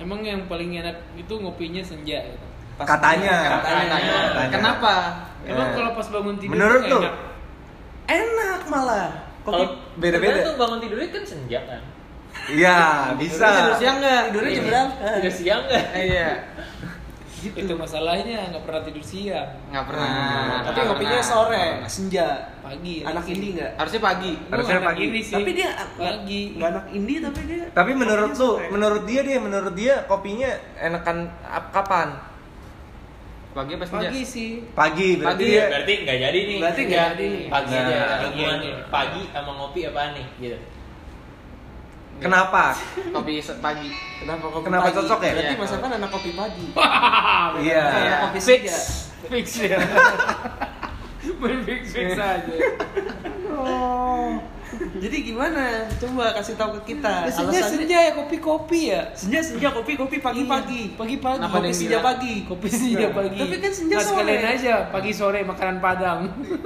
Emang yang paling enak itu ngopinya senja. Gitu.
Pas-
Katanya.
katanya.
Katanya.
kenapa
Emang
Eh.
kalau pas bangun tidur
Menurut
tuh
lu?
enak.
enak malah kopi
Kalau
beda-beda.
sebenarnya tuh bangun tidurnya kan senja kan.
Iya, bisa.
Tidurnya tidur siang nggak tidurnya
Iya.
jam berapa
Tidur siang kan? nggak?
Eh, iya
Gitu. Itu masalahnya nggak pernah tidur siang.
Nggak pernah.
Nah, tapi
Nggak
ngopinya
pernah.
sore senja
Pagi.
anak indie nggak
Harusnya pagi.
Harusnya pagi.
ini sih.
tapi dia
Nah.
Pagi.
nggak anak indie tapi dia
Tapi menurut lu,
kopinya
Iya.
sore.
menurut dia deh, menurut dia kopinya enakan ap- kapan?
Pagi apa senja?
Iya.
Pagi sih.
Pagi berarti
Pagi
dia.
Iya.
berarti nggak jadi nih.
Berarti nggak jadi nih.
Pagi
Nah,
aja.
pagi
Hubungan pagi sama ngopi apaan nih? Gitu.
Kenapa?
Kopi se- pagi.
Kenapa kopi
Kenapa
pagi?
cocok ya?
Berarti
Iya.
Mas Afan anak kopi pagi.
Ah,
Iya.
Anak kopi senja.
Fix ya. Main fix fix aja.
Jadi gimana? Coba kasih tahu ke kita.
senja senja ya kopi kopi ya. Iya,
senja, senja kopi kopi pagi pagi.
Pagi pagi.
Kenapa Kopi ada yang senja bilang? pagi.
Kopi senja pagi.
Tapi kan senja
Nah, sekalian
sore.
aja pagi sore makanan Padang.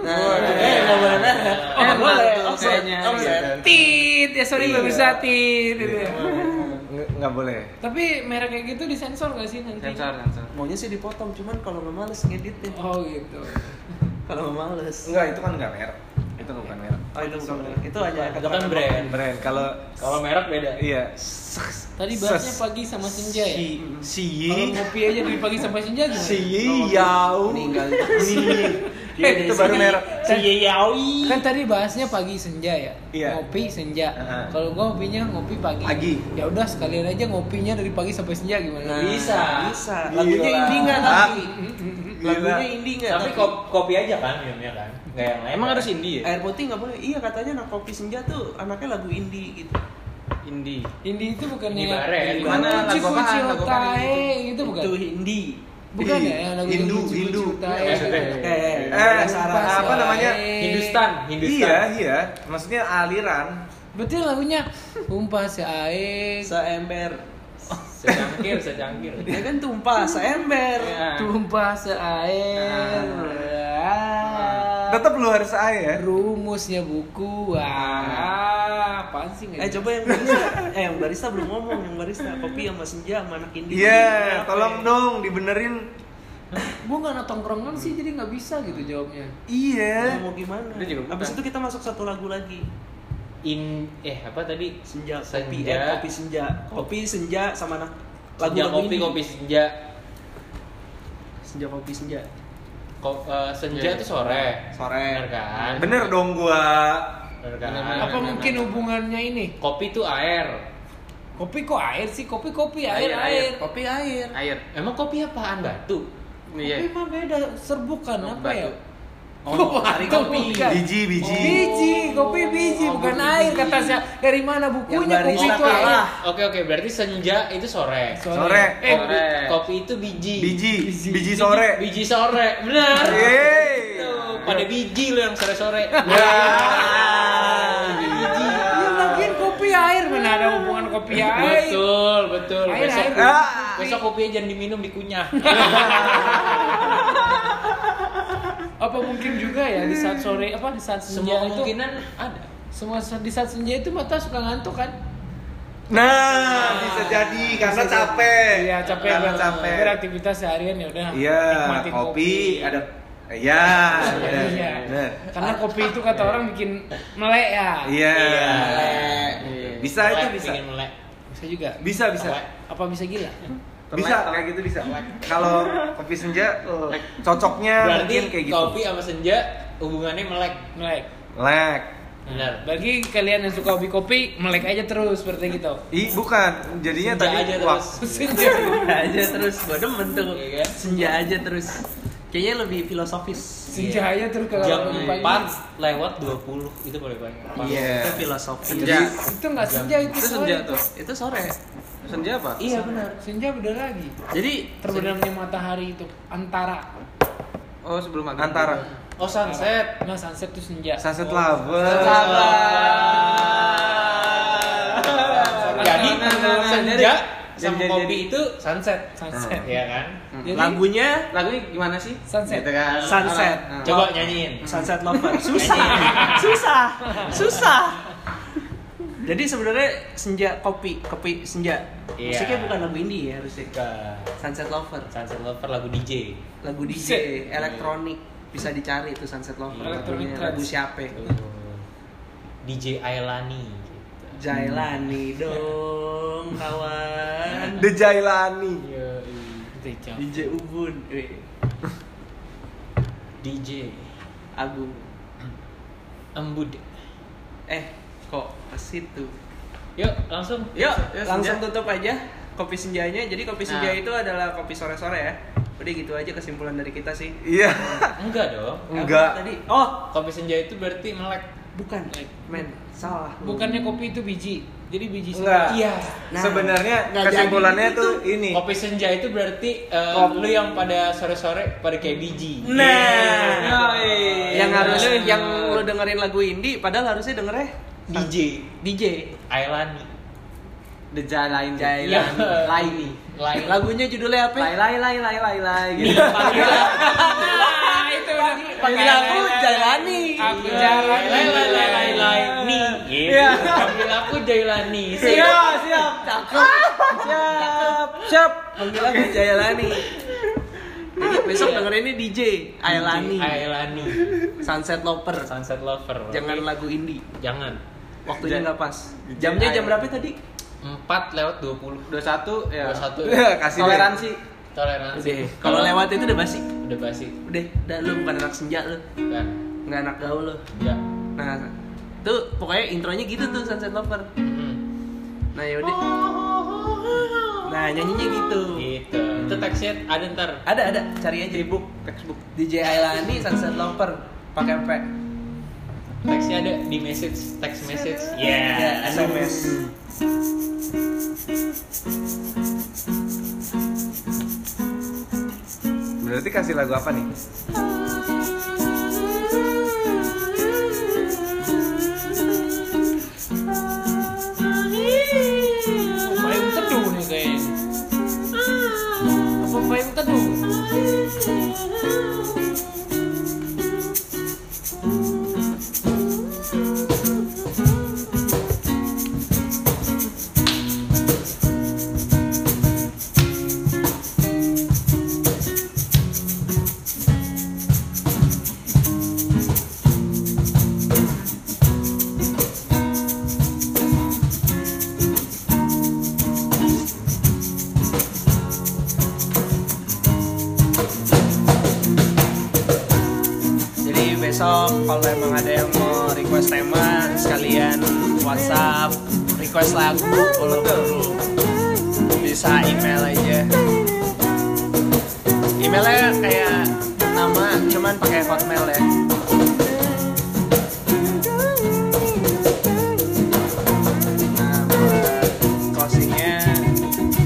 Nah, eh nggak boleh. nah.
Oh,
Eh,
boleh.
offset,
Kayaknya,
Iya.
offset.
Tit ya sorry nggak bisa tit. gitu ya.
Nggak- Iya, Nggak boleh.
Tapi merek kayak gitu disensor nggak sih nanti?
Sensor, sensor.
Maunya sih dipotong, cuman kalau nggak males ngeditnya.
Oh gitu.
Kalau nggak males.
Enggak, itu kan enggak merek. Itu nggak bukan merek.
Oh, itu bukan. Itu hanya
Itu kan brand.
Brand kalau
Kalau merek beda.
iya.
Tadi bahasnya pagi sama senja ya.
Si si
Kalau ngopi aja dari pagi sampai senja gimana?
si yau.
Meninggal.
Si. Eh, itu
si-
baru merek.
Si Yaoi.
Kan tadi bahasnya pagi senja ya.
Iya.
Ngopi senja.
Aha.
Kalau gua ngopinya ngopi pagi.
Pagi.
Ya udah sekalian aja ngopinya dari pagi sampai senja
Nah,
gimana?
Bisa.
Bisa.
Gila.
Lagunya indie nggak tapi?
Gila.
Lagunya indie nggak
Tapi kop- kopi aja kan minumnya kan. Nggak yang lain.
Emang
kan?
harus indie ya?
Air putih nggak boleh. Iya katanya anak kopi senja tuh anaknya lagu indie gitu.
Indie.
Indie itu
Di
bukannya
bare ya, di
Iya,
mana?
Fuji
Lagu apaan?
Fuji
Lagu apaan
Otae gitu bukan?
Itu indie.
Bukan ya
Ih,
yang lagu
Hindu,
Fuji Fuji
Hindu.
Otae.
Eh, eh,
Eh,
Eh,
Sarah,
Lupa,
apa
soalnya.
namanya?
Hindustan, Hindustan.
Iya, iya. Maksudnya aliran.
Betul lagunya Umpas si Ae
seember
Secangkir, secangkir.
dia kan tumpah seember
Tumpah si Ae Ah.
Tetap lu harus air.
Rumusnya buku Wah Apaan sih nggak
eh
jelas.
coba yang barista eh yang barista belum ngomong yang barista kopi sama senja sama anak indie ya?
Iya, tolong dong dibenerin.
Gue gak anak tongkrongan sih jadi gak bisa gitu jawabnya
Nah,
Iya.
mau gimana
Dia juga bukan.
abis itu kita masuk satu lagu lagi
In eh apa tadi?
senja kopi
Senja.
eh, kopi senja kopi senja sama anak
Senja kopi,
indie.
kopi senja.
senja kopi senja
Ko- eh, senja
Iya.
itu sore.
Sore.
Bener kan?
Bener dong gua.
Bener kan?
Bener, bener.
Apa mungkin hubungannya ini?
Kopi itu air.
Kopi kok air sih? Kopi kopi
Air,
air air,
air.
kopi air
Air.
Emang kopi apaan batu?
Kopi
Iya.
mah beda serbukan apa ya?
Oh, cari
Batu
kopi.
bukan.
Biji, biji.
Biji, kopi biji bukan air kata saya. Dari mana
iya,
Yang
bukunya kopi
barista
itu air?
kalah.
Oke oke, berarti senja itu sore.
Sore.
Eh,
Sore.
Kopi itu biji.
Biji, biji sore.
Biji sore. Benar.
Yeay.
Tuh, Pada biji lo yang
Ya.
sore-sore.
Nah.
Biji.
Iya lagian kopi air mana ada hubungan kopi air?
Betul, betul.
Air,
besok,
air,
Ah.
besok kopinya jangan diminum dikunyah.
Apa mungkin juga ya di saat sore apa di saat senja
Semua
itu?
kemungkinan ada.
Semua sa- di saat senja itu mata suka ngantuk kan?
Nah, bisa jadi karena capek.
Iya capek
Karena
banget.
capek.
Beraktivitas seharian ya udah.
Iya,
nikmatin
kopi ada Iya, bener,
Iya.
bener.
Karena kopi itu kata orang bikin melek ya.
Iya.
Melek.
Bisa
Melek,
itu bisa.
pingin Eh, melek.
Bisa juga.
Bisa, bisa.
Melek.
Apa bisa gila?
Bisa kayak gitu bisa. Kalau kopi senja cocoknya
Berarti
mungkin kayak gitu.
kopi sama senja hubungannya melek.
Melek.
Lek.
Benar.
Bagi kalian yang suka hobi kopi, melek aja terus seperti gitu.
Ih, bukan. Jadinya
Senja
Iya, tadi wak-
aja terus.
Senja.
senja aja terus gua demen tuh
Iya kan?
senja aja terus kayaknya lebih filosofis
Senja aja terus kalau
Jam
pagi.
4 lewat 20 itu boleh banyak.
itu
Iya.
filosofis
Senja.
Itu nggak senja itu.
Itu
sore.
senja tuh.
itu sore
Senja apa?
iya benar
Senja beda lagi.
jadi
Terbenamnya matahari itu antara
Oh sebelum maghrib.
antara
Oh sunset.
Nah, sunset tuh senja.
sunset lover
Jadi
Nah, nah, nah,
senja
jadi-
sama
jadi-
kopi
jadi-
itu sunset.
Sunset.
Iya kan?
Jadi,
Lagunya
Lagunya gimana sih?
Sunset.
Gitu kan.
Sunset.
Ah, ah.
Coba nyanyiin.
Sunset Lover. Susah. Susah. Susah. Jadi sebenarnya senja kopi, kopi senja.
Iya.
Musiknya bukan lagu indie ya harusnya.
Ke
Sunset Lover,
Sunset Lover lagu DJ.
lagu DJ elektronik bisa dicari itu Sunset Lover
Electronic
lagunya
trance.
lagu siapa?
Hmm. DJ Ailani.
Jailani dong kawan.
The Jailani
Iya,
DJ Ubun, eh,
DJ
Agung.
Embud.
Eh, kok ke situ?
Yuk langsung.
Yuk,
Yuk,
langsung
senja.
tutup aja kopi senjanya. Jadi kopi senja
Nah.
itu adalah kopi sore-sore ya. Udah gitu aja kesimpulan dari kita sih.
iya
Enggak dong.
Apa
enggak
Tadi, oh,
Kopi senja itu berarti melek.
bukan. eh, Men, salah.
bukannya
Hmm.
kopi itu biji. Jadi biji
Enggak.
senja.
Iya.
Nah,
sebenarnya
nggak
kesimpulannya
jadi
tuh
itu.
ini
Kopi senja itu berarti eh,
Kopi.
lu yang pada sore-sore pada kayak biji. Iya.
Nah,
Yoi.
yang harusnya yang lu dengerin lagu indie padahal harusnya ya. dengernya
DJ
DJ
Ailani.
The Jailani.
Iya.
Jailani. Laini.
Lain
Lagunya judulnya apa? Iya.
Lai lai lai lai lai lai gitu.
Ah, itu udah.
Panggil aku Jailani.
Aku
Iya. Lain lain lain lain
jalan.
lain lain ni.
Iya.
Panggil aku Jailani.
Iya.
Siap, siap.
Siap, siap. Panggil aku Jailani. Jadi besok dengerinnya DJ Ailani,
Ailani.
Sunset Loper.
Sunset Lover.
Jangan lagu indie.
Jangan.
Waktunya
Ja-
nggak pas.
DJ
Jamnya jam
Ailani.
berapa tadi?
4 lewat 20.
21 ya.
21.
kasih deh.
Toleransi.
Toleransi.
Iya. Udah. Kalau lewat itu udah basi.
udah basi
Udah, udah lu bukan anak senja lu.
kan. Iya.
Nggak anak gaul lu.
Enggak.
Nah, tuh pokoknya intronya gitu tuh Sunset Lover.
Mm-hmm.
Mm-mm.
Nah, yaudah. Nah, nyanyinya gitu.
Iya.
Gitu. Itu teksnya ada ntar.
Ada ada, cari aja ebook, textbook. DJ Ailani Sunset Lover pakai P.
Teksnya ada di message, text message.
Ya,
Yeah.
SMS.
berarti kasih lagu apa nih
Payung teduh nih kayaknya. Apa payung teduh?
Jadi besok kalau emang ada yang mau request tema sekalian WhatsApp, request lagu kalau perlu bisa email aja. Emailnya kayak nama cuman pakai hotmail ya. Nah, buat closingnya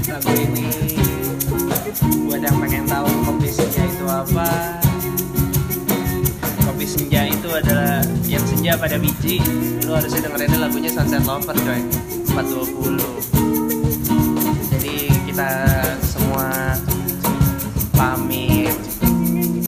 lagu ini buat yang pengen tahu komposisinya itu apa kopi senja itu adalah yang senja pada biji lu harusnya dengerinnya lagunya Sunset Lover coy 420